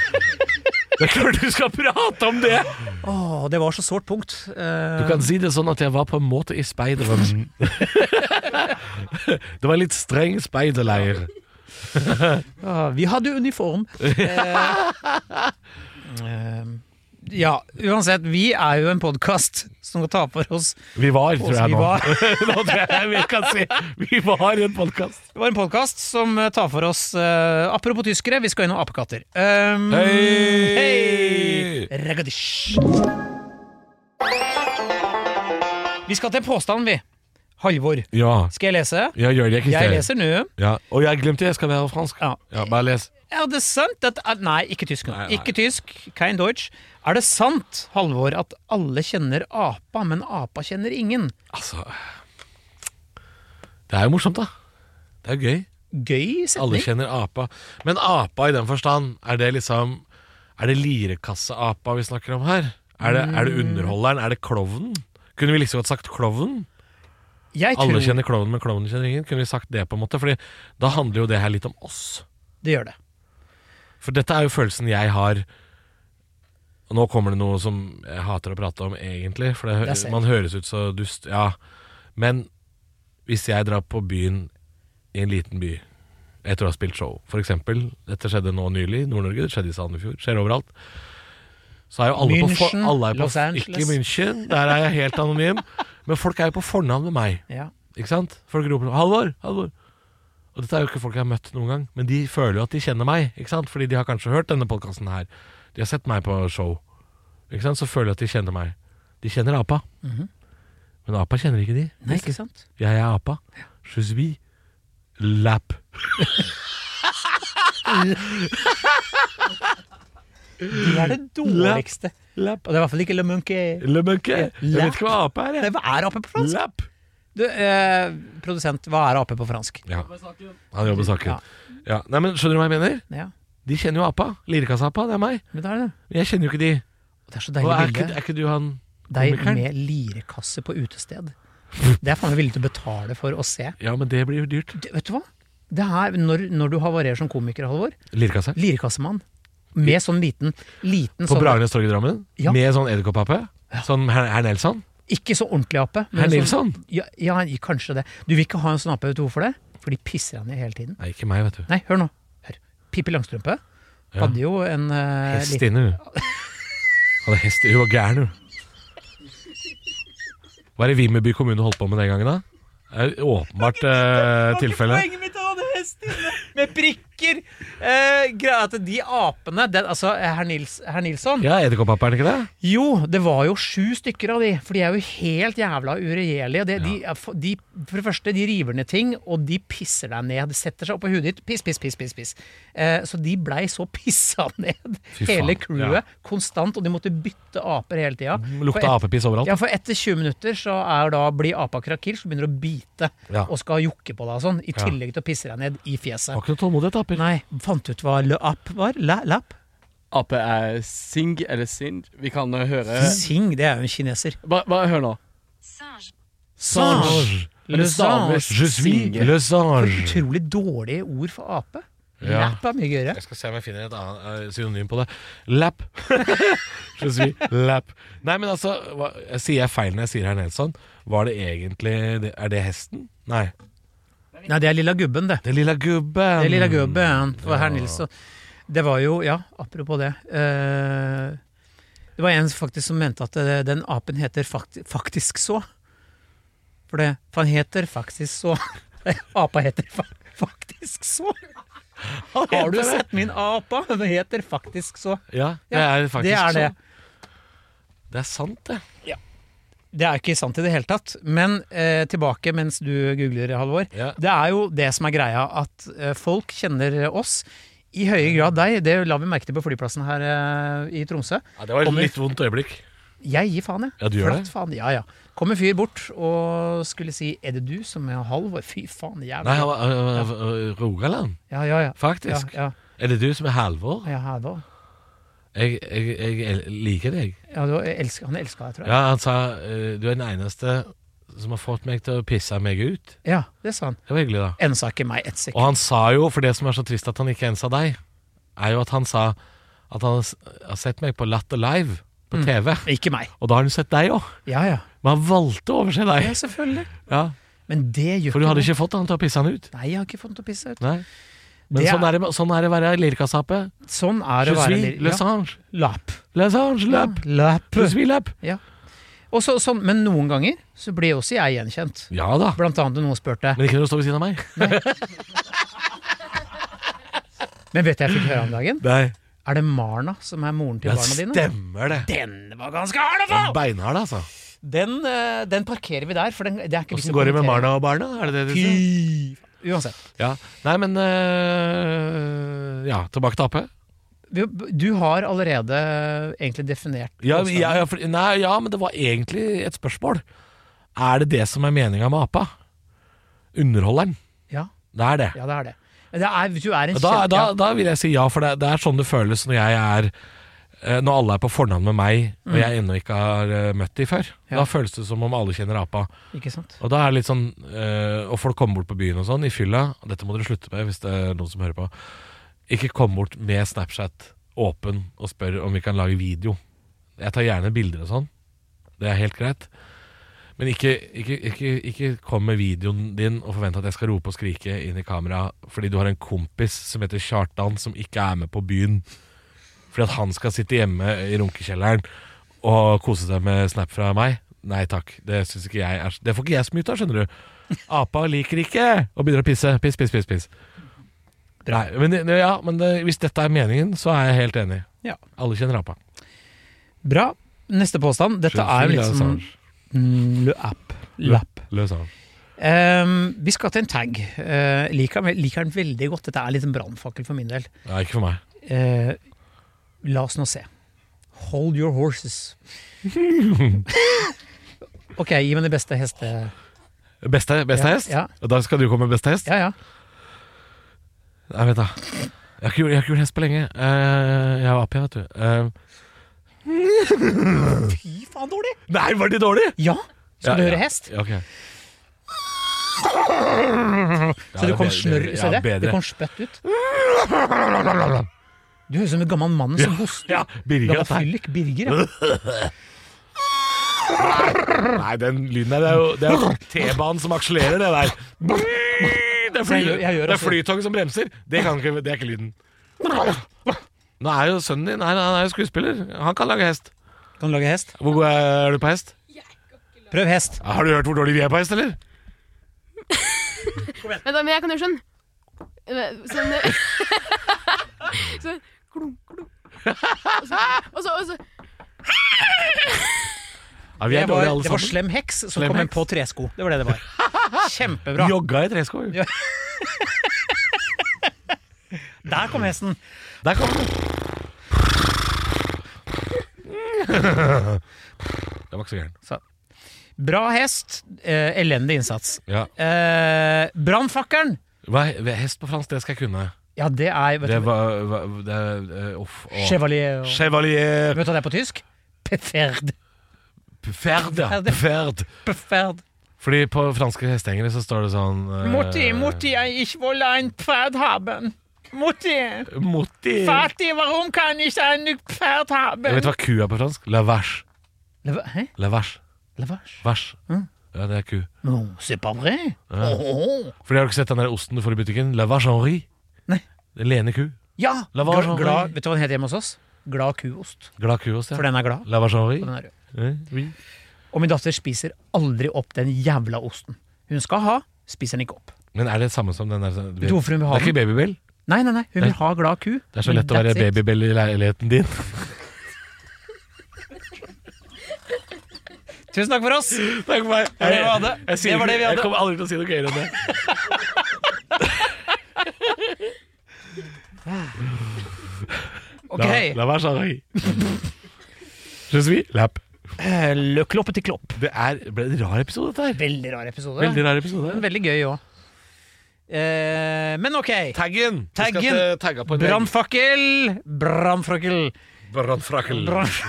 [SPEAKER 2] Det er klart du skal prate om det!
[SPEAKER 3] Åh, det var så sårt punkt. Eh,
[SPEAKER 2] Du kan si det sånn at jeg var på en måte i speiderrommet. [LAUGHS] det var en litt streng speiderleir.
[SPEAKER 3] ja, Ah, vi
[SPEAKER 2] [LAUGHS]
[SPEAKER 3] hadde uniform. Eh, eh, ja, uansett. Vi er jo en podkast som skal ta for oss
[SPEAKER 2] Vi var, tror jeg
[SPEAKER 3] vi
[SPEAKER 2] nå. [LAUGHS]
[SPEAKER 3] var. [LAUGHS]
[SPEAKER 2] nå tror jeg vi kan si Vi var i en podkast.
[SPEAKER 3] Det var en podkast som eh, tar for oss eh, Apropos tyskere, vi skal innom apekatter. Um,
[SPEAKER 2] Hei!
[SPEAKER 3] Ragadish. Vi skal til en påstand, vi. Halvor,
[SPEAKER 2] Ja.
[SPEAKER 3] skal jeg lese?
[SPEAKER 2] Ja, gjør det, Christer.
[SPEAKER 3] Jeg leser nå.
[SPEAKER 2] Ja. Og jeg glemte jeg skal være fransk.
[SPEAKER 3] Ja.
[SPEAKER 2] Ja, bare les.
[SPEAKER 3] Er det sant at at- Nei, ikke tysk. nå.
[SPEAKER 2] Nei, nei.
[SPEAKER 3] Ikke tysk, kein Deutsch. Er det sant, Halvor, at alle kjenner apa, men apa kjenner ingen?
[SPEAKER 2] Altså Det er jo morsomt, da. Det er gøy.
[SPEAKER 3] Gøy
[SPEAKER 2] Alle
[SPEAKER 3] setning.
[SPEAKER 2] kjenner apa. Men apa i den forstand, er det liksom Er det lirekasseapa vi snakker om her? Er det, er det underholderen? Er det klovnen? Kunne vi like så godt sagt klovnen?
[SPEAKER 3] Jeg tror
[SPEAKER 2] Alle kjenner klovnen, men klovnen kjenner ingen. Kunne vi sagt det, på en måte? Fordi da handler jo det her litt om oss.
[SPEAKER 3] det gjør det.
[SPEAKER 2] For dette er jo følelsen jeg har Og nå kommer det noe som jeg hater å prate om, egentlig. For det,
[SPEAKER 3] Jeg ser.
[SPEAKER 2] man høres ut så dust. Ja. Men hvis jeg drar på byen i en liten by etter å ha spilt show, f.eks. Dette skjedde nå nylig i Nord-Norge, det skjedde i Sandefjord, skjer overalt. Så er jo alle på for,
[SPEAKER 3] München,
[SPEAKER 2] alle er på,
[SPEAKER 3] Los Angeles.
[SPEAKER 2] Ikke München, der er jeg helt anonym. Men folk er jo på fornavn med meg.
[SPEAKER 3] Ja.
[SPEAKER 2] Ikke sant? Folk roper sånn, 'Halvor! Halvor!' Og dette er jo ikke folk jeg har møtt noen gang, men de føler jo at de kjenner meg. Ikke sant? Fordi de har kanskje hørt denne podkasten her. De har sett meg på show. Ikke sant? Så føler de at de kjenner meg. De kjenner apa. Men apa kjenner ikke de.
[SPEAKER 3] Nei, ikke sant?
[SPEAKER 2] Jeg er apa. Je suis lap.
[SPEAKER 3] Det er
[SPEAKER 2] [LAUGHS]
[SPEAKER 3] det dårligste.
[SPEAKER 2] Lap.
[SPEAKER 3] Og det er i hvert fall ikke Le Munke.
[SPEAKER 2] Le monkey. Jeg
[SPEAKER 3] Lap.
[SPEAKER 2] vet ikke hva apa er.
[SPEAKER 3] Nei,
[SPEAKER 2] Jeg.
[SPEAKER 3] hva er ape på fransk?
[SPEAKER 2] Lap.
[SPEAKER 3] Du, eh, produsent, hva er ape på fransk?
[SPEAKER 2] Ja. Han jobber saken. Ja. Nei, men skjønner du hva jeg mener?
[SPEAKER 3] Ja,
[SPEAKER 2] De kjenner jo apa. Lirekasseapa, det er meg.
[SPEAKER 3] men det er det.
[SPEAKER 2] Men Jeg kjenner jo ikke de.
[SPEAKER 3] Og det er så
[SPEAKER 2] Og
[SPEAKER 3] deilig
[SPEAKER 2] er ikke,
[SPEAKER 3] bilde.
[SPEAKER 2] er ikke du han
[SPEAKER 3] Deg
[SPEAKER 2] komikeren?
[SPEAKER 3] med lirekasse på utested. Det er faen meg villig til å betale for å se.
[SPEAKER 2] Ja, men det blir jo dyrt.
[SPEAKER 3] Du, vet du hva? Det her, når, når du havarerer som komiker, Halvor.
[SPEAKER 2] Lirekasse.
[SPEAKER 3] Lirekassemann. Med sånn liten, liten
[SPEAKER 2] På
[SPEAKER 3] sånn,
[SPEAKER 2] Bragernes torg i Drammen?
[SPEAKER 3] Ja.
[SPEAKER 2] Med sånn edderkopphappe? Sånn herr herr Nelson?
[SPEAKER 3] Ikke så ordentlig ape. men
[SPEAKER 2] Herr
[SPEAKER 3] sånn-
[SPEAKER 2] Nilsson?
[SPEAKER 3] Ja, ja, kanskje det. Du vil ikke ha en sånn ape, vet du hvorfor det? For de pisser deg ned hele tiden.
[SPEAKER 2] Nei, ikke meg, vet du.
[SPEAKER 3] Nei, hør nå. Hør. Pippi Langstrømpe
[SPEAKER 2] Ja.
[SPEAKER 3] hadde jo en eh,
[SPEAKER 2] Hest
[SPEAKER 3] liten-
[SPEAKER 2] inne, hun. Hadde hest Hun var gæren, hun. Hva er det Vimmerby kommune holdt på med den gangen, da? Det er et Åpenbart eh, tilfelle.
[SPEAKER 3] Poenget mitt er at han hadde hest inne med prikker. Eh, greia er at de apene den, Altså, eh, herr Nils, herr Nilsson
[SPEAKER 2] Ja, edderkopphappe, er det ikke det?
[SPEAKER 3] Jo, det var jo sju stykker av de. For de er jo helt jævla uregjerlige. De, de er f- de, for det første, de river ned ting, og de pisser deg ned. Setter seg opp på huet ditt. Piss, piss, piss, piss. piss. Eh, så de blei så [LAUGHS] pissa ned,
[SPEAKER 2] Fy faen,
[SPEAKER 3] hele crewet,
[SPEAKER 2] ja.
[SPEAKER 3] konstant. Og de måtte bytte aper hele tida. For
[SPEAKER 2] Lukta
[SPEAKER 3] et-
[SPEAKER 2] apepiss overalt.
[SPEAKER 3] ja, for etter 20 minutter så er da blir apa krakil, som begynner å bite
[SPEAKER 2] Ja.
[SPEAKER 3] og skal jokke på deg og sånn, i tillegg til å pisse deg ned i fjeset.
[SPEAKER 2] Har ikke noe tålmodighet, aper.
[SPEAKER 3] Nei, fant du ut hva le app var? La, lapp?
[SPEAKER 6] Ape er sing eller sind. Vi kan eh, høre
[SPEAKER 3] Sing, det er jo en kineser.
[SPEAKER 6] Bare, bare hør nå.
[SPEAKER 2] Sange.
[SPEAKER 6] Men det staves
[SPEAKER 2] Je suis
[SPEAKER 6] singe.
[SPEAKER 2] le sange.
[SPEAKER 3] Utrolig dårlige ord for ape.
[SPEAKER 2] Ja.
[SPEAKER 3] Lapp er mye gøyere.
[SPEAKER 2] Jeg skal se om jeg finner et annet eh, synonym på det. Lap. [LAUGHS] Je suis lap. Nei, men altså, hva, jeg sier jeg feil når jeg sier herr Nelson? Var det egentlig det, Er det hesten? Nei.
[SPEAKER 3] Nei, det er lilla gubben, det.
[SPEAKER 2] Det er lilla gubben.
[SPEAKER 3] Det er lilla gubben for herr Nilsson. Det var jo, ja, apropos det. eh, det var en faktisk som mente at eh, den apen heter fakti faktisk så. For, det, for han heter faktisk så. [LAUGHS] Apa heter fa faktisk så. Har du sett min apa? Den heter faktisk så.
[SPEAKER 2] Ja, det
[SPEAKER 3] Ja,
[SPEAKER 2] er faktisk
[SPEAKER 3] det er det.
[SPEAKER 2] sånn. Det er sant, det.
[SPEAKER 3] Det er ikke sant i det hele tatt. Men eh, tilbake mens du googler, Halvor.
[SPEAKER 2] Ja.
[SPEAKER 3] Det er jo det som er greia, at eh, folk kjenner oss. I høye grad deg. Det la vi merke til på flyplassen her eh, i Tromsø.
[SPEAKER 2] Ja, det var et
[SPEAKER 3] Kommer-
[SPEAKER 2] litt vondt øyeblikk.
[SPEAKER 3] Jeg gir faen, jeg.
[SPEAKER 2] Ja, du gjør
[SPEAKER 3] Flatt
[SPEAKER 2] det?
[SPEAKER 3] Faen. Ja, ja. Kom en fyr bort og skulle si 'Er det du som er Halvor?' Fy faen, jævla
[SPEAKER 2] Nei, han var øh, øh, øh, Rogaland,
[SPEAKER 3] Ja, ja, ja. ja,
[SPEAKER 2] faktisk.
[SPEAKER 3] ja.
[SPEAKER 2] Er det du som er Halvor?
[SPEAKER 3] ja Halvor.
[SPEAKER 2] Jeg, jeg, jeg el- liker deg.
[SPEAKER 3] Ja, du elsker, han elska deg, tror jeg.
[SPEAKER 2] Ja, han sa eh, du er den eneste som har fått meg til å pisse meg ut.
[SPEAKER 3] Ja, det sa han.
[SPEAKER 2] Det var hyggelig, da.
[SPEAKER 3] Ensa ikke meg ett
[SPEAKER 2] Og
[SPEAKER 3] sekund.
[SPEAKER 2] han sa jo, for det som er så trist at han ikke ens sa deg, er jo at han sa at han har s- har sett meg på Latter Live på TV.
[SPEAKER 3] Ikke meg.
[SPEAKER 2] Og da har han sett deg òg.
[SPEAKER 3] Ja, ja.
[SPEAKER 2] Men han valgte å overse deg.
[SPEAKER 3] Ja, selvfølgelig.
[SPEAKER 2] Ja,
[SPEAKER 3] Men det gjør
[SPEAKER 2] for du hadde
[SPEAKER 3] noe.
[SPEAKER 2] ikke fått han til å pisse han ut.
[SPEAKER 3] Nei, jeg har ikke fått noe pisse ut.
[SPEAKER 2] Nei. Men
[SPEAKER 3] Det er-
[SPEAKER 2] sånn, er det, sånn er det å være lirkassape.
[SPEAKER 3] Sånn
[SPEAKER 2] Je
[SPEAKER 3] er det å være
[SPEAKER 2] suis
[SPEAKER 3] litt- ja.
[SPEAKER 2] lesange.
[SPEAKER 3] Lap.
[SPEAKER 2] Lesange lap.
[SPEAKER 3] Lap.
[SPEAKER 2] Je suis lap.
[SPEAKER 3] Og så, sånn, men noen ganger så ble også jeg gjenkjent.
[SPEAKER 2] Ja da.
[SPEAKER 3] Blant annet når noen spurte.
[SPEAKER 2] Men ikke når du står ved siden av meg.
[SPEAKER 3] Men vet du hva jeg fikk høre om dagen?
[SPEAKER 2] Nei.
[SPEAKER 3] Er det Marna som er moren til
[SPEAKER 2] Det
[SPEAKER 3] barna dine?
[SPEAKER 2] stemmer, det.
[SPEAKER 3] Den var ganske hard, i hvert
[SPEAKER 2] Den
[SPEAKER 3] fall!
[SPEAKER 2] beinhard, altså.
[SPEAKER 3] Den, eh, den parkerer vi der, for den, det er ikke
[SPEAKER 2] Åssen går det med
[SPEAKER 3] kommentere.
[SPEAKER 2] Marna og barna? Er det det du sier?
[SPEAKER 3] Fy- Uansett.
[SPEAKER 2] Ja. Nei, men øh, Ja, tilbake til Ap.
[SPEAKER 3] Vi- Du har allerede eh, egentlig definert
[SPEAKER 2] Ja,
[SPEAKER 3] påstanden.
[SPEAKER 2] ja, ja, for, nei, ja, men det var egentlig et spørsmål. Er det det som er meninga med apa? Underholderen.
[SPEAKER 3] Ja,
[SPEAKER 2] Det er det.
[SPEAKER 3] ja, det er det. Men det er, du er en
[SPEAKER 2] Da,
[SPEAKER 3] kjent-
[SPEAKER 2] da,
[SPEAKER 3] ja.
[SPEAKER 2] da vil jeg si ja, for det, det er sånn det føles når jeg er eh, Når alle er på fornavn med meg, og jeg ennå ikke har eh, møtt de før.
[SPEAKER 3] Mm. Ja.
[SPEAKER 2] Da føles det som om alle kjenner apa.
[SPEAKER 3] Ikke sant?
[SPEAKER 2] Og da er det litt sånn eh, Og folk kommer bort på byen og sånn, i fylla. og Dette må dere slutte med hvis det er noen som hører på. Ikke kom bort med Snapchat åpen og spør om vi kan lage video. Jeg tar gjerne bilder og sånn. Det er helt greit. Men ikke, ikke, ikke, ikke kom med videoen din og forvent at jeg skal rope og skrike inn i kamera fordi du har en kompis som heter Kjartan, som ikke er med på byen. Fordi at han skal sitte hjemme i runkekjelleren og kose seg med snap fra meg. Nei takk, det syns ikke jeg er Det får ikke jeg så mye ut av, skjønner du. Apa liker ikke og begynner å pisse. Piss, piss, piss. piss Nei, men, det- ja, men det, hvis dette er meningen, så er jeg helt enig.
[SPEAKER 3] Ja.
[SPEAKER 2] Alle kjenner apa.
[SPEAKER 3] Bra. Neste påstand. Dette er jo
[SPEAKER 2] liksom
[SPEAKER 3] litt som
[SPEAKER 2] altså.
[SPEAKER 3] Mm, Løp. Lapp.
[SPEAKER 2] Løsange.
[SPEAKER 3] Ehm, vi skal til en tag. Eh, liker, den- liker den veldig godt. Dette er litt en brannfakkel for min del.
[SPEAKER 2] Nei, ikke for meg.
[SPEAKER 3] Eh, la oss nå se. Hold
[SPEAKER 2] [LAUGHS]
[SPEAKER 3] your horses. ok, gi meg det beste heste...
[SPEAKER 2] Beste, beste
[SPEAKER 3] Ja,
[SPEAKER 2] hest?
[SPEAKER 3] ja.
[SPEAKER 2] Og da skal du komme med beste hest?
[SPEAKER 3] Ja, ja.
[SPEAKER 2] Nei, vent da. Jeg har ikke gjort, jeg har ikke gjort hest på lenge. Eh, jeg var ape, vet du. Eh,
[SPEAKER 3] Fy faen, dårlig!
[SPEAKER 2] nei, var det dårlig?
[SPEAKER 3] Ja! Skal du
[SPEAKER 2] Ja, ja.
[SPEAKER 3] høre hest?
[SPEAKER 2] Ja, ok.
[SPEAKER 3] Så du kom snørr Se det?
[SPEAKER 2] bedre.
[SPEAKER 3] Det kom spøtt ut. Du høres ut som en gammel mann som hoster.
[SPEAKER 2] Ja, Birger.
[SPEAKER 3] Gammel
[SPEAKER 2] dette her.
[SPEAKER 3] fyllik Birger, ja.
[SPEAKER 2] Nei, den lyden der, det er jo, det er jo T-banen som akselererer det der. Det er, fly,
[SPEAKER 3] Jeg gjør- jeg gjør
[SPEAKER 2] det er
[SPEAKER 3] også.
[SPEAKER 2] flytoget som bremser. Det, kan ikke, det er ikke lyden. Nå er jo sønnen din Nei, han er jo skuespiller. Han kan lage hest.
[SPEAKER 3] Kan du lage hest?
[SPEAKER 2] Hvor god er du på hest?
[SPEAKER 3] Prøv hest.
[SPEAKER 2] Har du hørt hvor dårlig vi er på hest, eller?
[SPEAKER 7] Vent da, men jeg kan gjøre sånn. Eh, Sånn eh, [LAUGHS] Sånn klunk, klunk. Og så, og så, og så
[SPEAKER 2] Ja, vi
[SPEAKER 3] Det
[SPEAKER 2] er
[SPEAKER 3] var,
[SPEAKER 2] dårlige alle
[SPEAKER 3] det var
[SPEAKER 2] sammen.
[SPEAKER 3] Slem heks som
[SPEAKER 2] Slem
[SPEAKER 3] kom inn
[SPEAKER 2] heks.
[SPEAKER 3] på tresko. Det var det det
[SPEAKER 2] [LAUGHS]
[SPEAKER 3] var. Kjempebra.
[SPEAKER 2] Jogga i tresko. jo.
[SPEAKER 3] Ja. Der kom hesten.
[SPEAKER 2] Der kom den. Det var ikke så gæren.
[SPEAKER 3] Bra hest, eh, elendig innsats.
[SPEAKER 2] Ja.
[SPEAKER 3] Eh, Brannfakkelen!
[SPEAKER 2] Hva, er- hest på fransk, det skal jeg kunne.
[SPEAKER 3] Ja, det er vet
[SPEAKER 2] Det
[SPEAKER 3] du,
[SPEAKER 2] var hva- det, eh, Uff. å.
[SPEAKER 3] Chevalier.
[SPEAKER 2] Chevalier
[SPEAKER 3] Vet du hva det er på tysk? Peferd.
[SPEAKER 2] Pferd, ja.
[SPEAKER 3] Pferd.
[SPEAKER 2] Pferd.
[SPEAKER 3] Peferd.
[SPEAKER 2] Fordi på franske hesteengere så står det sånn eh,
[SPEAKER 3] jeg ikke vil en pferd haben. Mutti,
[SPEAKER 2] Eh. Mutti.
[SPEAKER 3] fatti, hvorfor kan jeg ikke en pferd
[SPEAKER 2] Jeg vet
[SPEAKER 3] haben?
[SPEAKER 2] hva ku er på fransk. La vache.
[SPEAKER 3] Hæ?
[SPEAKER 2] La vache.
[SPEAKER 3] Lavage?
[SPEAKER 2] Vache.
[SPEAKER 3] Mm.
[SPEAKER 2] Ja, det er ku.
[SPEAKER 3] Non, c'est pas vrai.
[SPEAKER 2] Eh.
[SPEAKER 3] Oh.
[SPEAKER 2] For de har du ikke sett den der osten du får i butikken? La vacherie.
[SPEAKER 3] Nei.
[SPEAKER 2] Det er Lene ku.
[SPEAKER 3] Ja!
[SPEAKER 2] Lavage,
[SPEAKER 3] Gla, gla, vet du hva den heter hjemme hos oss? Glad kuost.
[SPEAKER 2] Glad kuost, ja.
[SPEAKER 3] For den er glad.
[SPEAKER 2] La vacherie.
[SPEAKER 3] Og den er rød.
[SPEAKER 2] Eh, oui.
[SPEAKER 3] Og min datter spiser aldri opp den jævla osten. Hun skal ha, spiser den ikke opp.
[SPEAKER 2] Men er det samme som den der sånn-
[SPEAKER 3] Vet du hvorfor hun
[SPEAKER 2] Det
[SPEAKER 3] vil ha
[SPEAKER 2] er
[SPEAKER 3] den?
[SPEAKER 2] ikke babybell?
[SPEAKER 3] Nei, nei, nei, hun vil ha glad ku.
[SPEAKER 2] Det er så lett å
[SPEAKER 3] Men
[SPEAKER 2] være
[SPEAKER 3] that's it.
[SPEAKER 2] babybell i leiligheten din.
[SPEAKER 3] Tusen takk for oss!
[SPEAKER 2] [LAUGHS] Takk for meg.
[SPEAKER 3] det vi hadde.
[SPEAKER 2] Jeg, sier
[SPEAKER 3] Det var
[SPEAKER 2] ikke-
[SPEAKER 3] det vi hadde.
[SPEAKER 2] Jeg kommer aldri til å si noe gøyere enn det.
[SPEAKER 3] [LAUGHS] Ok.
[SPEAKER 2] La, la være sånn. Je suis lapp.
[SPEAKER 3] Eh, Løk loppe til klopp.
[SPEAKER 2] Det er, ble en rar episode, dette her.
[SPEAKER 3] Veldig rar episode.
[SPEAKER 2] Veldig rar episode.
[SPEAKER 3] Men veldig gøy Eh, òg. Eh, men ok.
[SPEAKER 2] Taggen!
[SPEAKER 3] Taggen.
[SPEAKER 2] Vi skal til- tagga på en vegg.
[SPEAKER 3] Brannfakkel! Brannfakkel.
[SPEAKER 2] Brannfrakkel. [LAUGHS]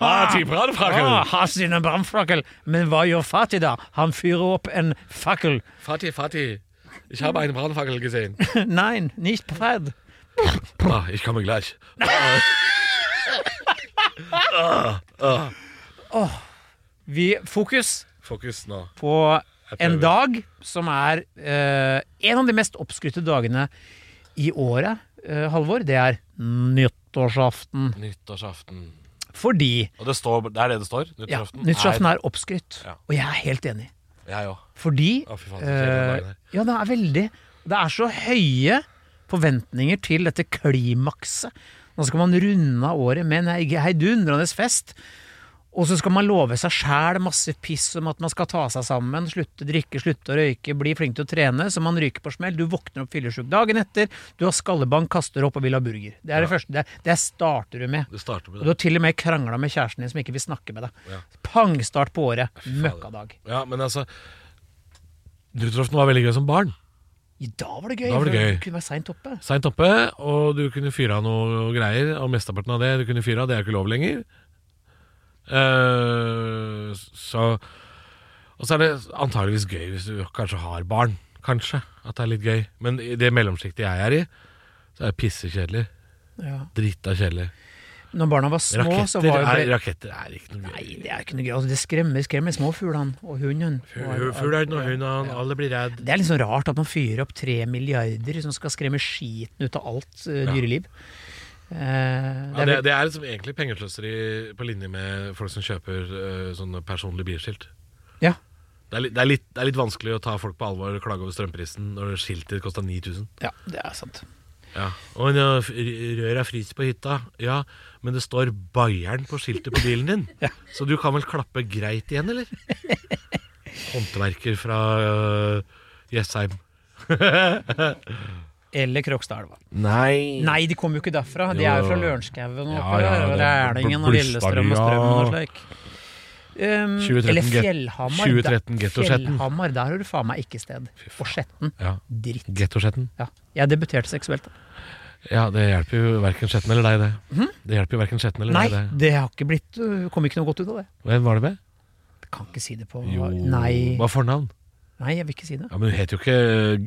[SPEAKER 2] Ah, til brannfrakkel.
[SPEAKER 3] Ah, har sin brannfrakkel. Men hva gjør Fatih da? Han fyrer opp en fakkel. [LAUGHS]
[SPEAKER 2] Fatih, Fatih. Ich
[SPEAKER 3] Mhm.
[SPEAKER 2] habe eine Brandfackel gesehen.
[SPEAKER 3] Nein, nicht fred.
[SPEAKER 2] Ah, ich komme gleich.
[SPEAKER 3] Vi fokus
[SPEAKER 2] Fokus nå.
[SPEAKER 3] på en dag som er eh, en av de mest oppskrytte dagene i året, eh, Halvor. Det er nyttårsaften.
[SPEAKER 2] Nyttårsaften.
[SPEAKER 3] Fordi
[SPEAKER 2] Og det, står, det er det det står?
[SPEAKER 3] ja,
[SPEAKER 2] Nyttårsaften?
[SPEAKER 3] nyttårsaften er oppskrytt.
[SPEAKER 2] Ja.
[SPEAKER 3] Og jeg er helt enig.
[SPEAKER 2] Jeg òg.
[SPEAKER 3] Fordi
[SPEAKER 2] Å, fy faen, så kjedelig den dagen
[SPEAKER 3] eh,
[SPEAKER 2] her.
[SPEAKER 3] Ja, det er veldig Det er så høye forventninger til dette klimakset. Nå skal man runde av året med en he- heidundrende fest. Og så skal man love seg sjæl masse piss om at man skal ta seg sammen, slutte å drikke, slutte å røyke, bli flink til å trene, så man ryker på smell. Du våkner opp fyllesyk dagen etter, du har skallebank, kaster opp og vil ha burger. Det er det første. Det, det starter du med.
[SPEAKER 2] Det starter med
[SPEAKER 3] Og du
[SPEAKER 2] det.
[SPEAKER 3] har til og med krangla med kjæresten din som ikke vil snakke med deg.
[SPEAKER 2] Ja.
[SPEAKER 3] Pangstart på året. Møkkadag.
[SPEAKER 2] Ja, men altså Nyttårsaften var veldig gøy som barn.
[SPEAKER 3] Ja, Da var det gøy.
[SPEAKER 2] Da var det
[SPEAKER 3] for
[SPEAKER 2] gøy.
[SPEAKER 3] Du kunne være seint oppe.
[SPEAKER 2] Seint oppe, og du kunne fyre av noe greier. Og mesteparten av det du kunne fyre av, det er jo ikke lov lenger. Eh, så Og så er det antageligvis gøy hvis du kanskje har barn. Kanskje at det er litt gøy. Men i det mellomsjiktet jeg er i, så er det pissekjedelig.
[SPEAKER 3] Ja.
[SPEAKER 2] Drita kjedelig.
[SPEAKER 3] Når barna var små, så
[SPEAKER 2] Raketter,
[SPEAKER 3] var
[SPEAKER 2] er,
[SPEAKER 3] jo det
[SPEAKER 2] raketter er ikke noe
[SPEAKER 3] Nei,
[SPEAKER 2] gøy.
[SPEAKER 3] det er ikke noe gøy. Altså, det skremmer, skremmer små fuglene og hunden. Og-
[SPEAKER 2] Fuglen og hunden, alle blir redd.
[SPEAKER 3] Det er litt sånn rart at man fyrer opp tre milliarder som skal skremme skiten ut av alt eh, dyreliv.
[SPEAKER 2] Ja,
[SPEAKER 3] Eh, det
[SPEAKER 2] det,
[SPEAKER 3] er, vel-
[SPEAKER 2] det er liksom egentlig pengesløseri på linje med folk som kjøper eh, sånne personlige bilskilt.
[SPEAKER 3] ja.
[SPEAKER 2] Det er, litt, det, er litt, det er litt vanskelig å ta folk på alvor og klage over strømprisen når skiltet kosta 9000.
[SPEAKER 3] ja, det er sant.
[SPEAKER 2] Ja. Og når røret er fryst på hytta, ja, men det står Bayern på skiltet på bilen [LAUGHS] din. Så du kan vel klappe greit igjen, [LAUGHS] eller? Håndverker fra øh, Jessheim.
[SPEAKER 3] Eller Krokstadelva.
[SPEAKER 2] Nei.
[SPEAKER 3] Nei, de kommer jo ikke derfra. De er jo fra Lørenskauen og
[SPEAKER 2] Ja,
[SPEAKER 3] oppe
[SPEAKER 2] ja,
[SPEAKER 3] der, og
[SPEAKER 2] det er
[SPEAKER 3] Rælingen
[SPEAKER 2] bl-
[SPEAKER 3] og Lillestrøm og Strømmen og
[SPEAKER 2] Blustadlia.
[SPEAKER 3] slik. Um,
[SPEAKER 2] 2013
[SPEAKER 3] eller
[SPEAKER 2] get-
[SPEAKER 3] Fjellhamar.
[SPEAKER 2] 2013
[SPEAKER 3] Der-
[SPEAKER 2] Getto-Skjetten.
[SPEAKER 3] Fjellhamar, der har du faen meg ikke sted. Og Skjetten.
[SPEAKER 2] Ja.
[SPEAKER 3] Dritt.
[SPEAKER 2] Gettosjetten.
[SPEAKER 3] Ja. Jeg debuterte seksuelt.
[SPEAKER 2] Ja, det hjelper jo verken Skjetten eller deg, det. Det hjelper jo hverken Skjetten eller
[SPEAKER 3] Hm? Nei,
[SPEAKER 2] deg, det.
[SPEAKER 3] det har ikke blitt øh, Kom ikke noe godt ut av det.
[SPEAKER 2] Hvem var det med?
[SPEAKER 3] Jeg kan ikke si det på
[SPEAKER 2] Jo,
[SPEAKER 3] Nei,
[SPEAKER 2] hva er fornavn?
[SPEAKER 3] nei jeg vil ikke si det.
[SPEAKER 2] Ja, men hun heter jo ikke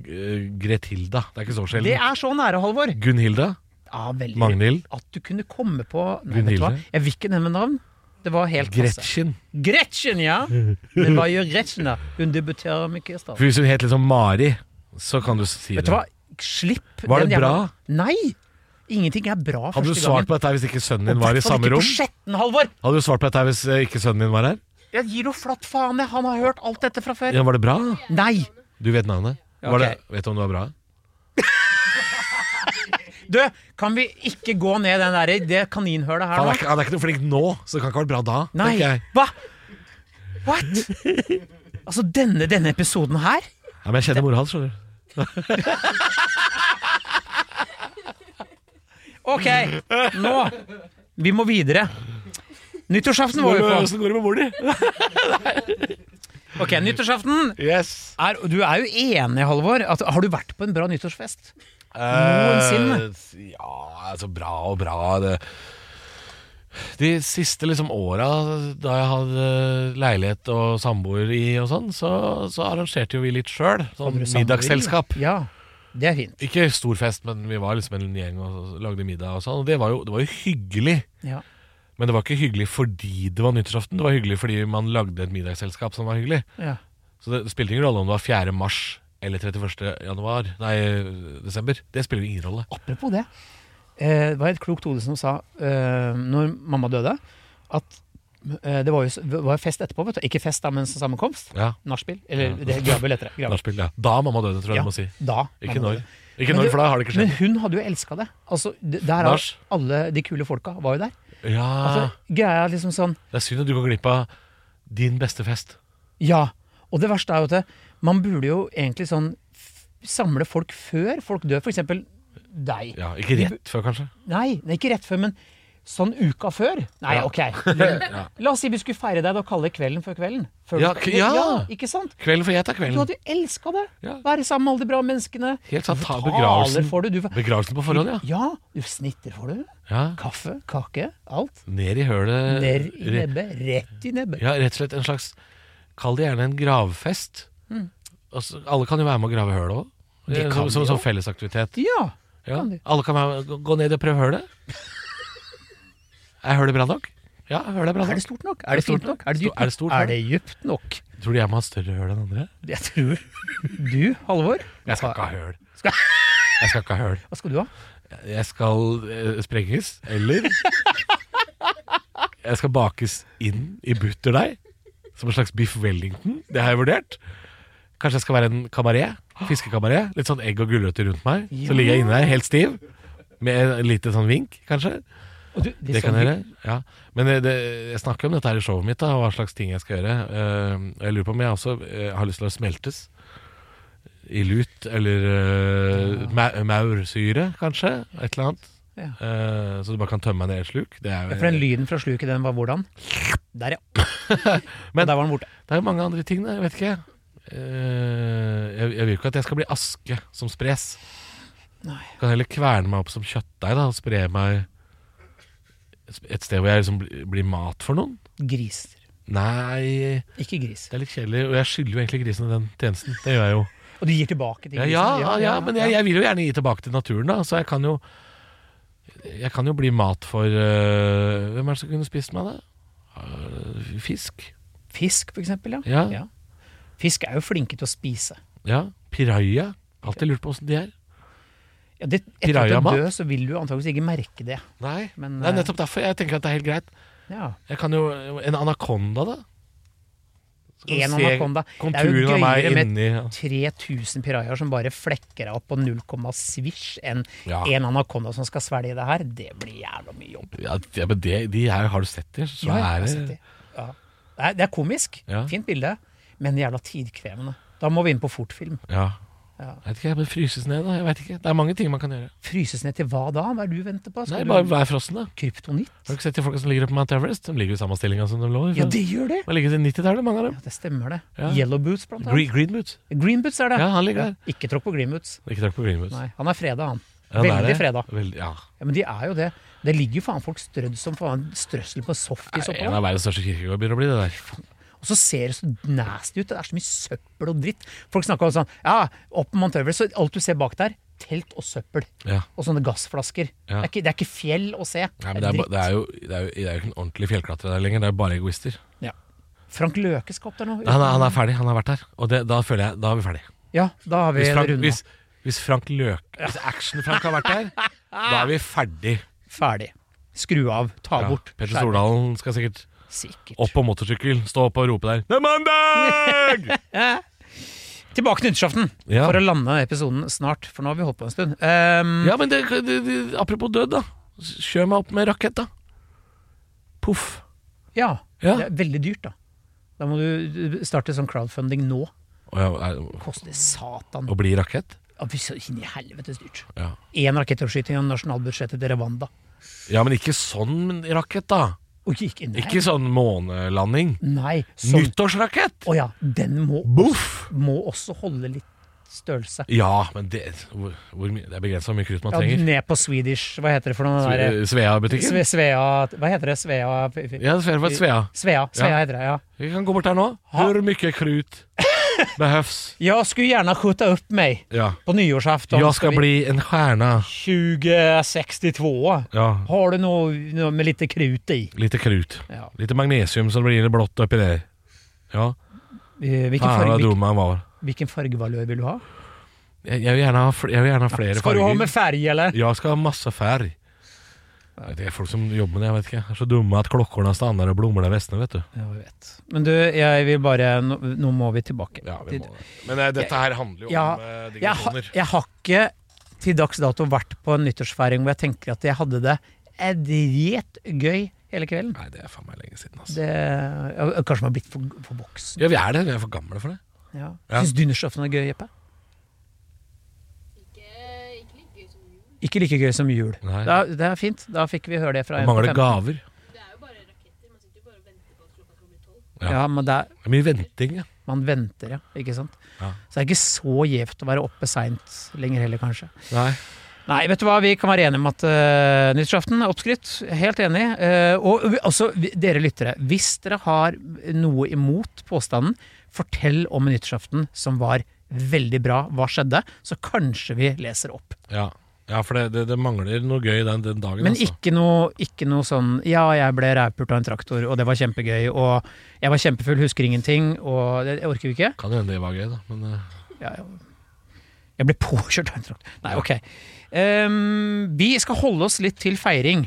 [SPEAKER 2] øh, Grethilda. Det er ikke så
[SPEAKER 3] Det
[SPEAKER 2] sjelden.
[SPEAKER 3] er så nære, Halvor!
[SPEAKER 2] Gunhilda?
[SPEAKER 3] Ja, veldig
[SPEAKER 2] Magnhild?
[SPEAKER 3] At du kunne komme på Nei, vet du hva?
[SPEAKER 2] Gunhilde?
[SPEAKER 3] Jeg vil ikke nevne navn. Det var helt passe.
[SPEAKER 2] Gretchen?
[SPEAKER 3] Gretchen, ja! Men hva gjør Gretchen, da? Hun debuterer med Kristian.
[SPEAKER 2] For hvis hun het liksom Mari, så kan du si
[SPEAKER 3] Vet
[SPEAKER 2] det.
[SPEAKER 3] du hva? Slipp
[SPEAKER 2] Var det
[SPEAKER 3] den jævla
[SPEAKER 2] bra?
[SPEAKER 3] Nei! Ingenting er bra
[SPEAKER 2] Hadde du
[SPEAKER 3] første
[SPEAKER 2] svart
[SPEAKER 3] gangen.
[SPEAKER 2] på dette hvis ikke sønnen din var i samme
[SPEAKER 3] Og
[SPEAKER 2] rom?
[SPEAKER 3] hvertfall ikke på Skjetten, Halvor!
[SPEAKER 2] Hadde du svart på dette hvis eh, ikke sønnen din var her?
[SPEAKER 3] Jeg gir jo flatt faen i. Han har hørt alt dette fra før.
[SPEAKER 2] Ja, Var det bra?
[SPEAKER 3] Nei!
[SPEAKER 2] Du vet navnet?
[SPEAKER 3] ok.
[SPEAKER 2] Var det, vet du om det var bra?
[SPEAKER 3] Du, kan vi ikke gå ned den der, det kaninhølet her
[SPEAKER 2] Han
[SPEAKER 3] nå?
[SPEAKER 2] er, ikke- han er ikke noe flink nå, så det kan ikke ha vært bra da.
[SPEAKER 3] Nei,
[SPEAKER 2] tenker jeg.
[SPEAKER 3] hva? What? Altså, denne, denne episoden her
[SPEAKER 2] Ja, men jeg kjenner mora hans, skjønner du.
[SPEAKER 3] Ok, nå Vi må videre Nyttårsaften var vi på
[SPEAKER 2] Åssen går det med mor di?
[SPEAKER 3] Ok, nyttårsaften
[SPEAKER 2] Yes.
[SPEAKER 3] er, Du er jo enig, Halvor at, Har du vært på en bra nyttårsfest?
[SPEAKER 2] Eh, ja, altså bra og bra det. De siste liksom åra da jeg hadde leilighet og samboer i og sånn, så, så arrangerte jo vi litt sjøl. Sånn
[SPEAKER 3] Hadde du samboer?
[SPEAKER 2] middagsselskap.
[SPEAKER 3] Ja, det er fint
[SPEAKER 2] Ikke stor fest, men vi var liksom en gjeng og lagde middag og sånn. Og det var jo, det var jo hyggelig.
[SPEAKER 3] ja.
[SPEAKER 2] Men det var ikke hyggelig fordi det var nyttårsaften. Det var hyggelig fordi man lagde et middagsselskap som var hyggelig.
[SPEAKER 3] Ja.
[SPEAKER 2] Så det spilte ingen rolle om det var 4. mars eller 31. januar, nei, desember. Det spiller ingen rolle.
[SPEAKER 3] Apropos det eh, Det var et klokt hode som sa eh, Når mamma døde At eh, det var jo s- det var fest etterpå vet du. Ikke fest da, men sammenkomst
[SPEAKER 2] Ja,
[SPEAKER 3] Narspill, eller det, grabbel etter det grabbel.
[SPEAKER 2] nachspiel, ja. Da mamma døde, tror jeg du må si.
[SPEAKER 3] Da.
[SPEAKER 2] Ikke
[SPEAKER 3] mamma
[SPEAKER 2] når.
[SPEAKER 3] døde.
[SPEAKER 2] Ikke
[SPEAKER 3] Men
[SPEAKER 2] når,
[SPEAKER 3] det-
[SPEAKER 2] for da har det ikke
[SPEAKER 3] Men
[SPEAKER 2] skjedd.
[SPEAKER 3] hun hadde jo elska det. Altså, d- der har
[SPEAKER 2] Lars? Ah.
[SPEAKER 3] alle de kule folka var jo der.
[SPEAKER 2] Ja,
[SPEAKER 3] Altså, greia er liksom sånn
[SPEAKER 2] Det er synd at du går glipp av din beste fest.
[SPEAKER 3] Ja. Og det verste er jo at det- man burde jo egentlig sånn f samle folk før folk dør. For eksempel deg.
[SPEAKER 2] Ja, Ikke rett før, kanskje.
[SPEAKER 3] Nei, nei, ikke rett før, men Sånn uka før? Nei,
[SPEAKER 2] [LAUGHS]
[SPEAKER 3] ok.
[SPEAKER 2] Ja.
[SPEAKER 3] La oss si vi skulle feire deg og kalle det kvelden før kvelden. Før
[SPEAKER 2] Ja,
[SPEAKER 3] du-
[SPEAKER 2] k- ja.
[SPEAKER 3] Ikke sant?
[SPEAKER 2] Kvelden får jeg ta
[SPEAKER 3] Du
[SPEAKER 2] kvelden.
[SPEAKER 3] hadde jo elska det.
[SPEAKER 2] Ja.
[SPEAKER 3] Være sammen med alle de bra menneskene.
[SPEAKER 2] Helt sant. Ta
[SPEAKER 3] Taler
[SPEAKER 2] begravelsen.
[SPEAKER 3] får du, du
[SPEAKER 2] Begravelsen på forhånd, ja.
[SPEAKER 3] Ja, du snitter får du.
[SPEAKER 2] ja.
[SPEAKER 3] Kaffe, kake, alt.
[SPEAKER 2] Ned i hølet.
[SPEAKER 3] Ned i
[SPEAKER 2] Re-
[SPEAKER 3] nebbet. Rett i nebbet.
[SPEAKER 2] Ja, rett og slett en slags Kall det gjerne en gravfest. Altså, alle kan jo være med å grave høl òg.
[SPEAKER 3] Det
[SPEAKER 2] Som,
[SPEAKER 3] kan
[SPEAKER 2] som,
[SPEAKER 3] Mm. de
[SPEAKER 2] som
[SPEAKER 3] jo.
[SPEAKER 2] fellesaktivitet.
[SPEAKER 3] Ja.
[SPEAKER 2] Ja.
[SPEAKER 3] kan de.
[SPEAKER 2] Alle kan være, gå- gå ned og prøve
[SPEAKER 3] [LAUGHS]
[SPEAKER 2] hølet. Er hølet bra nok? Ja, hølet er bra
[SPEAKER 3] Er det
[SPEAKER 2] nok.
[SPEAKER 3] stort nok? Er det fint nok? Er det dypt
[SPEAKER 2] Er det stort
[SPEAKER 3] nok?
[SPEAKER 2] nok?
[SPEAKER 3] Er det dypt nok?
[SPEAKER 2] Tror du jeg må ha større høl enn andre?
[SPEAKER 3] Jeg
[SPEAKER 2] [LAUGHS]
[SPEAKER 3] tror Du, Halvor?
[SPEAKER 2] Jeg skal ikke ha høl. Jeg skal ikke ha høl.
[SPEAKER 3] Hva skal du ha?
[SPEAKER 2] Jeg skal eh, sprenges, eller Jeg skal bakes inn i butterdeig, som en slags biff wellington. Det har jeg vurdert. Kanskje jeg skal være en kabaret. Fiskekabaret. Litt sånn egg og gulrøtter rundt meg. Så ligger jeg inne der helt stiv, med et lite sånn vink, kanskje.
[SPEAKER 3] Og du,
[SPEAKER 2] Det kan jeg gjøre. Ja. Men eh, det, jeg snakker om dette her i showet mitt, da, og hva slags ting jeg skal gjøre. Eh, og jeg lurer på om jeg også eh, har lyst til å smeltes. I lut, eller eh, ma- maursyre, kanskje. Et eller annet.
[SPEAKER 3] Ja.
[SPEAKER 2] Eh, så du bare kan tømme meg ned i et sluk. Det er,
[SPEAKER 3] Ja,
[SPEAKER 2] jo-
[SPEAKER 3] For den lyden fra sluket, den var hvordan? Der, ja.
[SPEAKER 2] [LAUGHS] Men-
[SPEAKER 3] Men der var den borte.
[SPEAKER 2] det er jo mange andre ting, da. Jeg vet ikke. Eh, jeg, jeg vil ikke at jeg skal bli aske som spres.
[SPEAKER 3] Nei.
[SPEAKER 2] Kan heller kverne meg opp som kjøttdeig da, og spre meg et sted hvor jeg liksom blir- blir mat for noen.
[SPEAKER 3] Griser.
[SPEAKER 2] Nei
[SPEAKER 3] Ikke gris.
[SPEAKER 2] Det er litt kjedelig, og jeg skylder jo egentlig grisene den tjenesten. Det gjør jeg jo.
[SPEAKER 3] Og du gir tilbake til
[SPEAKER 2] Ja,
[SPEAKER 3] grisen?
[SPEAKER 2] ja, ja, men jeg, jeg vil jo gjerne gi tilbake til naturen, da, så jeg kan jo Jeg kan jo bli mat for øh, Hvem er det som kunne spist meg, da? Øh, Fisk?
[SPEAKER 3] Fisk, for eksempel. Ja.
[SPEAKER 2] Ja. ja.
[SPEAKER 3] Ja. Fisk er jo flinke til å spise.
[SPEAKER 2] Piraja. Alltid lurt på åssen de er.
[SPEAKER 3] Ja, det, etter at du
[SPEAKER 2] Piranha-mat?
[SPEAKER 3] dør, så vil du antakeligvis ikke merke det.
[SPEAKER 2] Nei,
[SPEAKER 3] Men,
[SPEAKER 2] det er
[SPEAKER 3] eh,
[SPEAKER 2] nettopp derfor jeg tenker at det er helt greit.
[SPEAKER 3] Ja.
[SPEAKER 2] Jeg kan jo En anakonda, da. Så kan
[SPEAKER 3] En
[SPEAKER 2] du se
[SPEAKER 3] anakonda. Det er jo
[SPEAKER 2] Konturen av meg
[SPEAKER 3] gøyere med-
[SPEAKER 2] inni ja.
[SPEAKER 3] 3000 pirajaer som bare flekker deg opp på null komma svisj, enn
[SPEAKER 2] Ja.
[SPEAKER 3] en anakonda som skal svelge det her. Det blir jævla mye jobb.
[SPEAKER 2] ja, det- men det, de er, Har du sett de? Så
[SPEAKER 3] Ja, jeg har
[SPEAKER 2] er det
[SPEAKER 3] sett de. Ja. Det, er, det er komisk.
[SPEAKER 2] Ja.
[SPEAKER 3] Fint bilde. Men jævla tidkrevende. Da må vi inn på fortfilm.
[SPEAKER 2] Ja.
[SPEAKER 3] Ja.
[SPEAKER 2] Jeg vet ikke, jeg bare fryses ned, da. Jeg vet ikke. Det er mange ting man kan gjøre.
[SPEAKER 3] Fryses ned til hva da? Hva er det du venter på?
[SPEAKER 2] Nei,
[SPEAKER 3] Skal
[SPEAKER 2] bare
[SPEAKER 3] du
[SPEAKER 2] vær frossen, da.
[SPEAKER 3] kryptonitt?
[SPEAKER 2] Har du ikke sett de folka som ligger oppe på Mount Everest? De ligger i samme stillinga som de lå i.
[SPEAKER 3] Ja,
[SPEAKER 2] før.
[SPEAKER 3] det gjør det!
[SPEAKER 2] De har ligget i 90-tallet, mange av dem.
[SPEAKER 3] Ja, det stemmer det.
[SPEAKER 2] Ja.
[SPEAKER 3] Yellow boots, blant annet.
[SPEAKER 2] Green, green boots.
[SPEAKER 3] Green boots er det.
[SPEAKER 2] Ja, han ligger der.
[SPEAKER 3] Ikke tråkk på green boots.
[SPEAKER 2] Ikke trakk på green boots.
[SPEAKER 3] Nei, han er freda, han.
[SPEAKER 2] Ja, han er
[SPEAKER 3] Veldig
[SPEAKER 2] det.
[SPEAKER 3] freda.
[SPEAKER 2] Veldig- ja.
[SPEAKER 3] Ja, men de er jo det. Det ligger jo faen folk strødd som faen strøssel på softis oppå.
[SPEAKER 2] En av verdens største kirkegård begynner å bli det der.
[SPEAKER 3] Og så ser det så nasty ut. Det er så mye søppel og dritt. Folk snakker om sånn Ja, opp på Mount Everest, så alt du ser bak der, telt og søppel.
[SPEAKER 2] Ja.
[SPEAKER 3] Og sånne gassflasker.
[SPEAKER 2] Ja.
[SPEAKER 3] Det, er ikke, det er ikke fjell å se.
[SPEAKER 2] Nei, men det, er, ba- det, er jo, det, er jo, det er jo ikke en ordentlig fjellklatrer der lenger, det er jo bare egoister.
[SPEAKER 3] dritt. Ja. Frank Løke skal opp der nå.
[SPEAKER 2] Nei, han, er, han er ferdig, han har vært der. Og det, da føler jeg Da er vi ferdig.
[SPEAKER 3] Ja, da har vi
[SPEAKER 2] Hvis Frank,
[SPEAKER 3] runda.
[SPEAKER 2] hvis, hvis Frank Løk Hvis Action-Frank har vært der, da er vi ferdig.
[SPEAKER 3] Ferdig. Skru av, ta
[SPEAKER 2] Ja,
[SPEAKER 3] bort.
[SPEAKER 2] Petter
[SPEAKER 3] Skjær.
[SPEAKER 2] Stordalen skal sikkert
[SPEAKER 3] Sikkert.
[SPEAKER 2] opp på motorsykkel, stå opp og rope der 'Det er mandag!'
[SPEAKER 3] Tilbake til nyttårsaften,
[SPEAKER 2] Ja.
[SPEAKER 3] for å lande episoden snart. For nå har vi holdt på en stund. Ehm,
[SPEAKER 2] Ja, men det, det, det, apropos død, da. Kjør meg opp med rakett, da. Poff.
[SPEAKER 3] ja.
[SPEAKER 2] Ja.
[SPEAKER 3] Det er veldig dyrt, da. Da må du starte sånn crowdfunding nå.
[SPEAKER 2] Å ja, er-
[SPEAKER 3] Koster satan.
[SPEAKER 2] Å bli rakett?
[SPEAKER 3] Ja, fy søren, inn i helvetes dyrt.
[SPEAKER 2] Ja.
[SPEAKER 3] Én rakettoppskyting av nasjonalbudsjettet til Rwanda.
[SPEAKER 2] ja, men ikke sånn rakett, da.
[SPEAKER 3] Og gikk inn
[SPEAKER 2] Ikke sånn månelanding.
[SPEAKER 3] Nei, sånn.
[SPEAKER 2] Nyttårsrakett!
[SPEAKER 3] Å ja, den må,
[SPEAKER 2] Boff!
[SPEAKER 3] må også holde litt størrelse.
[SPEAKER 2] Ja, men det, hvor, hvor, mye- det er begrensa hvor mye krutt man
[SPEAKER 3] Ja,
[SPEAKER 2] trenger.
[SPEAKER 3] ned på Swedish Hva heter det for noe der?
[SPEAKER 2] Sve- Svea-butikken?
[SPEAKER 3] Sve, Svea Hva heter det? Svea Svea,
[SPEAKER 2] Ja, Svea, Svea.
[SPEAKER 3] Svea
[SPEAKER 2] Ja.
[SPEAKER 3] heter det, ja.
[SPEAKER 2] Vi kan gå bort der nå. Hvor mye [LAUGHS] krut behøvs?
[SPEAKER 3] Jag skulle gärna skjuta upp mig
[SPEAKER 2] Ja.
[SPEAKER 3] på nyårsafton.
[SPEAKER 2] Jeg Sånn skal bli en stjerne.
[SPEAKER 3] 2062.
[SPEAKER 2] Ja.
[SPEAKER 3] Har du noe med litt krut i?
[SPEAKER 2] Lite krut.
[SPEAKER 3] Ja.
[SPEAKER 2] Lite magnesium, så det blir litt blått oppi der. Ja.
[SPEAKER 3] Eh, Hvilken
[SPEAKER 2] Faen,
[SPEAKER 3] farge,
[SPEAKER 2] så
[SPEAKER 3] hvilken,
[SPEAKER 2] dum han var.
[SPEAKER 3] hvilken fargevalør vil du ha?
[SPEAKER 2] Jeg, jeg, vil gjerne ha fl jeg vil gjerne ha flere
[SPEAKER 3] Skal du ha
[SPEAKER 2] farger.
[SPEAKER 3] med färg eller?
[SPEAKER 2] Jeg skal ha masse färg. Det er folk som jobber med det, jeg vet ikke. Jeg er så dumme at klokkene stander og blommer der vestene, vet du.
[SPEAKER 3] Ja, jeg vet. Men du, jeg vil bare Nå, nå må vi tilbake. Til-
[SPEAKER 2] Men eh, dette her handler jo
[SPEAKER 3] Ja,
[SPEAKER 2] om eh,
[SPEAKER 3] jeg, har-
[SPEAKER 2] digresjoner.
[SPEAKER 3] jeg har ikke til dags dato vært på en nyttårsfeiring hvor jeg tenker at jeg hadde det dritgøy hele kvelden.
[SPEAKER 2] Nei, det er faen meg lenge siden, altså.
[SPEAKER 3] Det, ja, kanskje man har blitt for, for voksen.
[SPEAKER 2] Ja, vi er det. Vi er for gamle for det.
[SPEAKER 3] Ja.
[SPEAKER 2] Ja.
[SPEAKER 3] Syns du nyttårsaften er gøy, Jeppe? Ikke like gøy som jul.
[SPEAKER 2] Nei.
[SPEAKER 3] Da, det er fint. Da fikk vi høre det fra
[SPEAKER 2] Det
[SPEAKER 3] en på
[SPEAKER 2] mangler
[SPEAKER 3] 15.
[SPEAKER 2] gaver. ja.
[SPEAKER 3] Ja, men det er,
[SPEAKER 2] Det er mye venting, ja.
[SPEAKER 3] man venter, ja. Ikke sant?
[SPEAKER 2] Ja.
[SPEAKER 3] Så det er ikke så gjevt å være oppe seint lenger heller, kanskje.
[SPEAKER 2] Nei.
[SPEAKER 3] Nei, vet du hva, vi kan være enige om at uh, nyttårsaften er oppskrytt. Helt enig. Eh, og vi, også vi, dere lyttere, hvis dere har noe imot påstanden, fortell om nyttårsaften som var veldig bra. Hva skjedde? Så kanskje vi leser opp.
[SPEAKER 2] Ja. ja, for det, det, det mangler noe gøy den, den dagen.
[SPEAKER 3] Men
[SPEAKER 2] altså.
[SPEAKER 3] ikke noe, ikke noe sånn 'ja, jeg ble rævpult av en traktor, og det var kjempegøy', og 'jeg var kjempefull, husker ingenting', og det, det orker vi ikke.
[SPEAKER 2] Kan jo hende det var gøy, da. Men eh,
[SPEAKER 3] ja, ja. Jeg ble påkjørt av en traktor. Nei, ok. Ehm, vi skal holde oss litt til feiring.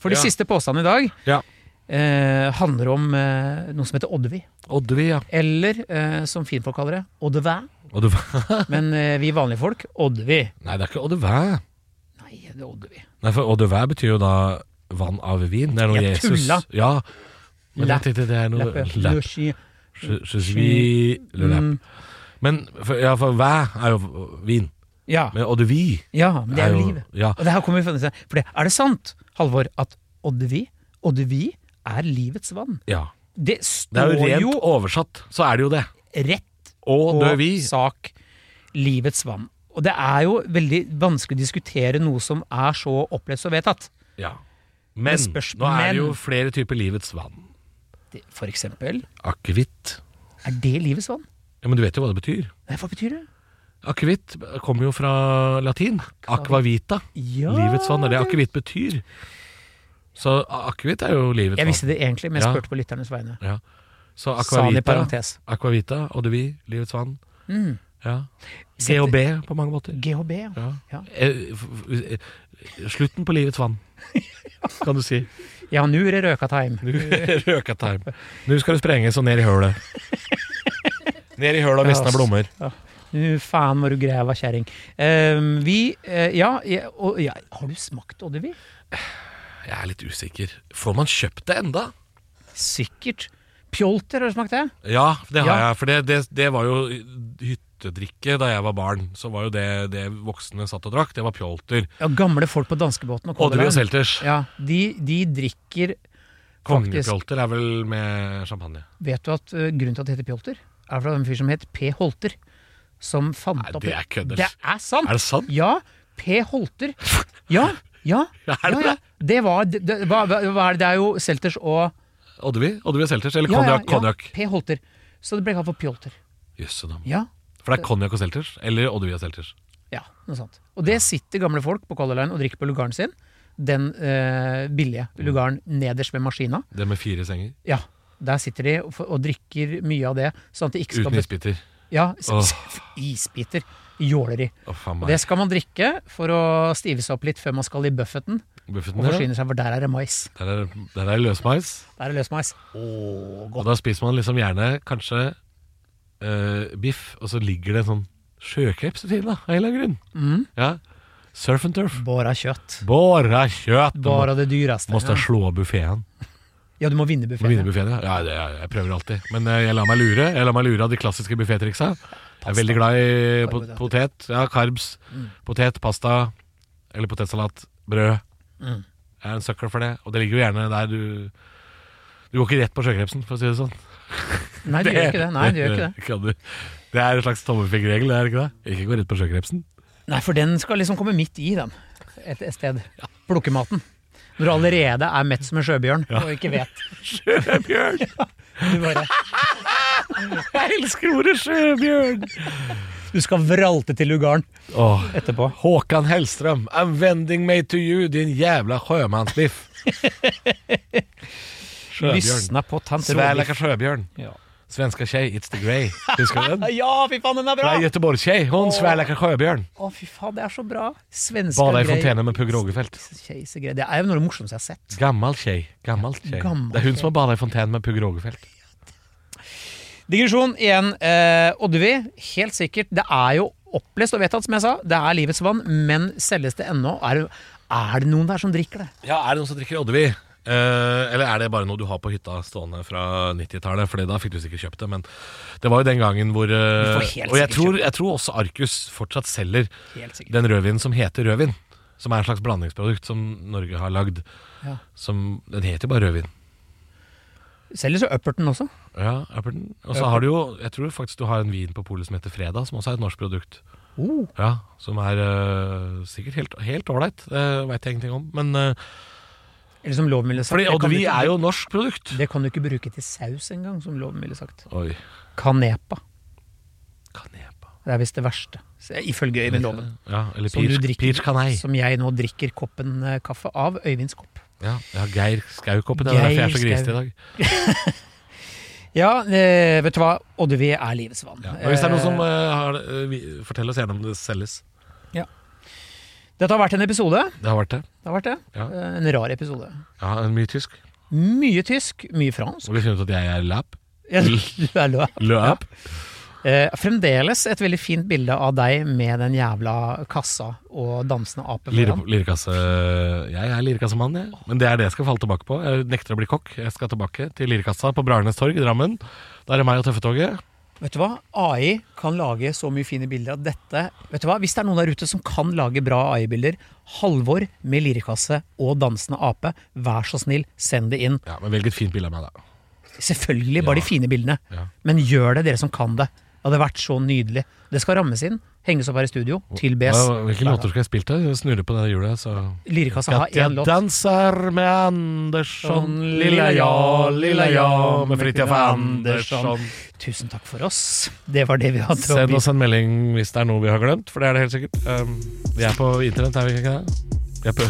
[SPEAKER 3] For de
[SPEAKER 2] Ja.
[SPEAKER 3] siste påstandene i dag
[SPEAKER 2] Ja.
[SPEAKER 3] eh, handler om eh, noe som heter Oddevi.
[SPEAKER 2] Oddvi, ja.
[SPEAKER 3] Eller eh, som finfolk kaller det, Oddevæ.
[SPEAKER 2] [LAUGHS] Oddvæ.
[SPEAKER 3] Men eh, vi vanlige folk, Oddevi.
[SPEAKER 2] Nei, det er ikke Oddvæ.
[SPEAKER 3] Nei, det er Oddevi.
[SPEAKER 2] Nei, for Oddvæ betyr jo da vann av vin. Det er noe
[SPEAKER 3] Jeg
[SPEAKER 2] Jesus
[SPEAKER 3] tulla.
[SPEAKER 2] Ja. Men jeg
[SPEAKER 3] Lapp.
[SPEAKER 2] tenkte det er noe
[SPEAKER 3] Lapp.
[SPEAKER 2] Lapp.
[SPEAKER 3] Lapp.
[SPEAKER 2] Je- je suis le lapp.
[SPEAKER 3] Mm,
[SPEAKER 2] Men for, ja, for væ er jo vin.
[SPEAKER 3] ja.
[SPEAKER 2] Men Oddvi
[SPEAKER 3] ja, men det er jo livet.
[SPEAKER 2] Ja.
[SPEAKER 3] Og det her kommer vi fra disse- For det, er det sant, Halvor, at Oddevi, Oddevi er livets vann?
[SPEAKER 2] ja.
[SPEAKER 3] Det
[SPEAKER 2] Det
[SPEAKER 3] står
[SPEAKER 2] er jo rent
[SPEAKER 3] jo
[SPEAKER 2] oversatt, så er det jo det.
[SPEAKER 3] rett
[SPEAKER 2] Og dø
[SPEAKER 3] og
[SPEAKER 2] vi.
[SPEAKER 3] sak Livets vann. Og det er jo veldig vanskelig å diskutere noe som er så opplevd og vedtatt.
[SPEAKER 2] Ja. Men
[SPEAKER 3] Det spørs-
[SPEAKER 2] nå er
[SPEAKER 3] men-
[SPEAKER 2] det jo flere typer livets vann.
[SPEAKER 3] Det- For eksempel,
[SPEAKER 2] Akevitt.
[SPEAKER 3] er det livets vann?
[SPEAKER 2] Ja, men du vet jo hva det betyr.
[SPEAKER 3] Nei, hva betyr det?
[SPEAKER 2] Akevitt kommer jo fra latin. Aqua vita.
[SPEAKER 3] Ja.
[SPEAKER 2] Livets vann er det akevitt betyr. Så a- akevitt er jo livets
[SPEAKER 3] Jeg visste
[SPEAKER 2] vann.
[SPEAKER 3] det egentlig, men jeg
[SPEAKER 2] Ja.
[SPEAKER 3] spurte på lytternes vegne.
[SPEAKER 2] Ja. Så
[SPEAKER 3] Sa han i
[SPEAKER 2] akvavita,
[SPEAKER 3] parentes.
[SPEAKER 2] akvavita og devi, livets vann.
[SPEAKER 3] Mm.
[SPEAKER 2] Ja.
[SPEAKER 3] Sette-
[SPEAKER 2] GHB på mange måter.
[SPEAKER 3] GHB, ja.
[SPEAKER 2] Ja.
[SPEAKER 3] Ja.
[SPEAKER 2] Eh, f- f- eh, Slutten på livets
[SPEAKER 3] [LAUGHS]
[SPEAKER 2] vann, kan du si.
[SPEAKER 3] Ja, nå er det røkateim.
[SPEAKER 2] Du [LAUGHS] røka tarm. Nå skal du sprenges og ned i hølet. Ned i hølet og visne
[SPEAKER 3] Ja, ass.
[SPEAKER 2] blommer.
[SPEAKER 3] Nå faen var du græva kjerring. Ehm, vi eh, Ja, jeg, og, ja har du smakt Oddevi?
[SPEAKER 2] Jeg er litt usikker. Får man kjøpt det enda?
[SPEAKER 3] Sikkert. Pjolter, har du smakt det?
[SPEAKER 2] Ja, det har
[SPEAKER 3] Ja.
[SPEAKER 2] jeg. For det, det, det var jo hyttedrikke da jeg var barn. Så var jo det, det voksne satt og drakk, det var pjolter.
[SPEAKER 3] Ja, Gamle folk på danskebåten og
[SPEAKER 2] Oddevi
[SPEAKER 3] Color
[SPEAKER 2] og
[SPEAKER 3] Line.
[SPEAKER 2] Selters.
[SPEAKER 3] Ja, de, de drikker faktisk
[SPEAKER 2] Kongepjolter er vel med champagne.
[SPEAKER 3] Vet du at ø, grunnen til at det heter Pjolter, er fra en fyr som het P. Holter, som fant
[SPEAKER 2] Nei,
[SPEAKER 3] opp
[SPEAKER 2] det er kødd,
[SPEAKER 3] Det
[SPEAKER 2] eller?
[SPEAKER 3] er sant!
[SPEAKER 2] Er det sant?
[SPEAKER 3] Ja, P.
[SPEAKER 2] [LAUGHS]
[SPEAKER 3] Holter. Ja, ja.
[SPEAKER 2] Er det
[SPEAKER 3] ja, ja.
[SPEAKER 2] det?
[SPEAKER 3] Det var det, det, hva, hva hva er det? Det er jo Selters og
[SPEAKER 2] Oddevi Oddevi og Selters, eller
[SPEAKER 3] Ja, ja,
[SPEAKER 2] konjakk.
[SPEAKER 3] ja,
[SPEAKER 2] Konjakk.
[SPEAKER 3] P. Holter. Så det ble kalt for Pjolter.
[SPEAKER 2] Jøsse navn.
[SPEAKER 3] Ja.
[SPEAKER 2] For det er konjakk og Selters, eller Oddevi og Selters.
[SPEAKER 3] ja, noe sånt. Og det sitter gamle folk på Color Line og drikker på lugaren sin. Den ø, billige
[SPEAKER 2] Mm.
[SPEAKER 3] lugaren nederst ved maskina.
[SPEAKER 2] Det med fire senger.
[SPEAKER 3] Ja, der sitter de og, f- og drikker mye av det. Sånn at de ikke skal
[SPEAKER 2] Uten
[SPEAKER 3] bet-
[SPEAKER 2] isbiter.
[SPEAKER 3] Ja,
[SPEAKER 2] Åh.
[SPEAKER 3] isbiter. Jåleri.
[SPEAKER 2] Å, faen
[SPEAKER 3] Og det
[SPEAKER 2] meg.
[SPEAKER 3] skal man drikke for å stive seg opp litt før man skal i buffeten og
[SPEAKER 2] Buffeten, ja.
[SPEAKER 3] forsyne seg, for der er det mais.
[SPEAKER 2] Der er, der er løsmais.
[SPEAKER 3] Der er det løsmeis.
[SPEAKER 2] Og da spiser man liksom gjerne kanskje eh, biff, og så ligger det en sånn sjøkreps til, da, av en eller annen grunn.
[SPEAKER 3] Mm.
[SPEAKER 2] Ja. Surf and turf.
[SPEAKER 3] Bare kjøtt.
[SPEAKER 2] Bare kjøtt! Du
[SPEAKER 3] Bare
[SPEAKER 2] må-
[SPEAKER 3] det dyreste.
[SPEAKER 2] Måste
[SPEAKER 3] Ja.
[SPEAKER 2] slå av buffeen.
[SPEAKER 3] Ja, du må vinne buffeten.
[SPEAKER 2] Vinnerbuffeen, ja. ja det, jeg, jeg prøver alltid. Men eh, jeg lar meg lure Jeg lar meg lure av de klassiske buffétriksa. Jeg er veldig glad i po
[SPEAKER 3] Karbohydrater.
[SPEAKER 2] potet. Ja, karbs.
[SPEAKER 3] Mm.
[SPEAKER 2] Potet, pasta eller potetsalat. Brød.
[SPEAKER 3] Mm.
[SPEAKER 2] Jeg er en sucker for det. Og det ligger jo gjerne der du Du går ikke rett på sjøkrepsen, for å si det sånn.
[SPEAKER 3] Nei, du gjør ikke det. Nei, du gjør
[SPEAKER 2] [LAUGHS]
[SPEAKER 3] ikke det.
[SPEAKER 2] Kan du- Det er en slags tommelfingerregel, er det ikke det? Ikke gå rett på sjøkrepsen.
[SPEAKER 3] Nei, for den skal liksom komme midt i den. Et, et sted. Plukkematen. Når du allerede er mett som en sjøbjørn og ikke vet.
[SPEAKER 2] [LAUGHS]
[SPEAKER 3] [LAUGHS]
[SPEAKER 2] Sjøbjørn!
[SPEAKER 3] Du, bare,
[SPEAKER 2] Jeg elsker ordet sjøbjørn!
[SPEAKER 3] du skal vralte til lugaren
[SPEAKER 2] Åh,
[SPEAKER 3] etterpå.
[SPEAKER 2] Håkan Hellström, I'm vending me to you, din jävla sjömansbiff. Sjöbjörn.
[SPEAKER 3] Lysna på tant Rådgift.
[SPEAKER 2] Svärlaka sjöbjörn.
[SPEAKER 3] Ja.
[SPEAKER 2] Svenska tjej, It's the Grey. Huskar du den?
[SPEAKER 3] [LAUGHS] Ja, fy faen, den er bra!
[SPEAKER 2] Nej, Göteborgstjej. Hon svärlaka sjöbjörn.
[SPEAKER 3] Å, fy faen, det er så bra. Svenska
[SPEAKER 2] Bada i
[SPEAKER 3] greier.
[SPEAKER 2] fontänen med Pugh Rogefeldt.
[SPEAKER 3] Keisergreier. Det er jo noe av det morsomste jeg har sett.
[SPEAKER 2] Gammal tjej. Gammal tjej.
[SPEAKER 3] Gammal
[SPEAKER 2] det är hon
[SPEAKER 3] tjej.
[SPEAKER 2] som har badat i fontänen med Pugh Rogefeldt.
[SPEAKER 3] Digresjon igjen. Eh, Oddvi, helt sikkert. Det er jo opplest og vedtatt, som jeg sa. Det er livets vann, men selges det ennå? Er, er det noen der som drikker det?
[SPEAKER 2] Ja, er det noen som drikker Oddevi? Eh, eller er det bare noe du har på hytta stående fra 90-tallet? Fordi da fikk du sikkert kjøpt det, men det var jo den gangen hvor eh,
[SPEAKER 3] Du får helt
[SPEAKER 2] Og jeg
[SPEAKER 3] sikkert
[SPEAKER 2] tror, jeg tror også Arcus fortsatt selger
[SPEAKER 3] Helt sikkert.
[SPEAKER 2] den rødvinen som heter rødvin. Som er et slags blandingsprodukt som Norge har lagd.
[SPEAKER 3] Ja.
[SPEAKER 2] Som, den heter jo bare rødvin.
[SPEAKER 3] Selger så Upperton også.
[SPEAKER 2] Ja, Apperton. Og så har du jo Jeg tror faktisk du har en vin på polet som heter Fredag, som også er et norsk produkt.
[SPEAKER 3] Oh.
[SPEAKER 2] Ja, Som er øh, sikkert helt- helt ålreit. Det veit jeg ingenting om. Men øh,
[SPEAKER 3] Eller som loven ville sagt.
[SPEAKER 2] Fordi
[SPEAKER 3] det kan du
[SPEAKER 2] Oddevi
[SPEAKER 3] ikke-
[SPEAKER 2] er jo norsk produkt.
[SPEAKER 3] Det kan du ikke bruke til saus engang, som loven ville sagt.
[SPEAKER 2] Oi.
[SPEAKER 3] Kanepa.
[SPEAKER 2] Kanepa.
[SPEAKER 3] Det er visst det verste, så- ifølge Øyvind Loven.
[SPEAKER 2] Ja, eller
[SPEAKER 3] Som du
[SPEAKER 2] Peach,
[SPEAKER 3] drikker.
[SPEAKER 2] peach Canei.
[SPEAKER 3] Som jeg nå drikker koppen eh, kaffe av. Øyvinds kopp.
[SPEAKER 2] Ja, jeg har Geir Skau-koppen. Det er derfor jeg er så
[SPEAKER 3] Geir
[SPEAKER 2] grisete i
[SPEAKER 3] Skau.
[SPEAKER 2] dag.
[SPEAKER 3] Ja, eh, vet du hva? Oddevi er livets vann.
[SPEAKER 2] Ja. Men hvis det er noen som
[SPEAKER 3] Eh,
[SPEAKER 2] øh, har det, øh, vi- Fortell oss gjerne om det selges.
[SPEAKER 3] Dette har vært en episode.
[SPEAKER 2] Det har vært det.
[SPEAKER 3] Det har vært det.
[SPEAKER 2] Ja.
[SPEAKER 3] Eh, En rar episode.
[SPEAKER 2] Ja, Mye tysk.
[SPEAKER 3] Mye tysk, mye fransk. [LAUGHS]
[SPEAKER 2] Og vi finner ut at jeg er lap.
[SPEAKER 3] Ja, la- la-
[SPEAKER 2] Løp.
[SPEAKER 3] Eh, Fremdeles et veldig fint bilde av deg med den jævla kassa og dansende ape
[SPEAKER 2] Lire,
[SPEAKER 3] foran.
[SPEAKER 2] lirekasse Jeg er lirekassemann, jeg. Men det er det jeg skal falle tilbake på. Jeg nekter å bli kokk. Jeg skal tilbake til Lirekassa på Bragernes torg i Drammen. Der er meg og Tøffetoget.
[SPEAKER 3] Vet du hva? AI kan lage så mye fine bilder av dette. Vet du hva? Hvis det er noen der ute som kan lage bra AI-bilder, Halvor med lirekasse og dansende ape, vær så snill, send det inn.
[SPEAKER 2] Ja, men velg et fint bilde av meg, da.
[SPEAKER 3] Selvfølgelig
[SPEAKER 2] Ja.
[SPEAKER 3] bare de fine bildene.
[SPEAKER 2] Ja.
[SPEAKER 3] Men gjør det, dere som kan det. Det hadde vært så nydelig. Det skal rammes inn, henges opp her i studio, til BS.
[SPEAKER 2] Hva- Hvilke låter skal jeg spille til? Jeg snurrer på det hjulet, så
[SPEAKER 3] Lirekassa har
[SPEAKER 2] Jeg
[SPEAKER 3] én låt.
[SPEAKER 2] danser med Andersson,
[SPEAKER 3] Sånn,
[SPEAKER 2] lilla ja, lilla ja, med Fridtjof
[SPEAKER 3] Andersson.
[SPEAKER 2] Andersson.
[SPEAKER 3] Tusen takk for oss. Det var det vi hadde å
[SPEAKER 2] Send
[SPEAKER 3] by
[SPEAKER 2] oss en melding hvis det er noe vi har glemt, for det er det helt sikkert. Um, vi er på internett, er vi ikke det? Vi er på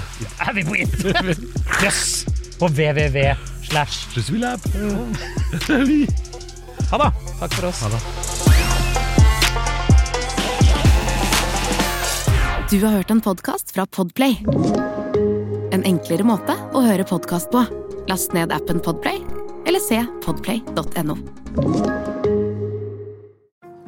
[SPEAKER 3] Er vi på
[SPEAKER 2] [LAUGHS]
[SPEAKER 3] internett? Jøss! På www. Slash.
[SPEAKER 2] Synes vi [LAUGHS] er på-
[SPEAKER 3] Ha det! Takk for oss.
[SPEAKER 1] Du har hørt en podcast fra Podplay. En enklere måte å høre podcast på. Last ned appen Podplay, eller se podplay.no.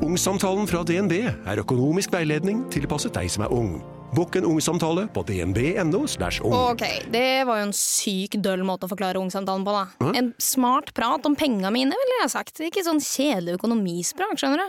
[SPEAKER 8] Ungsamtalen fra DNB er økonomisk veiledning tilpasset deg som er ung. Bokk en ungsamtale på dnb.no. /ung.
[SPEAKER 9] Ok, det var jo en syk døll måte å forklare ungsamtalen på, da. En smart prat om penga mine, ville jeg ha sagt. Ikke sånn kjedelig økonomisprat, skjønner du.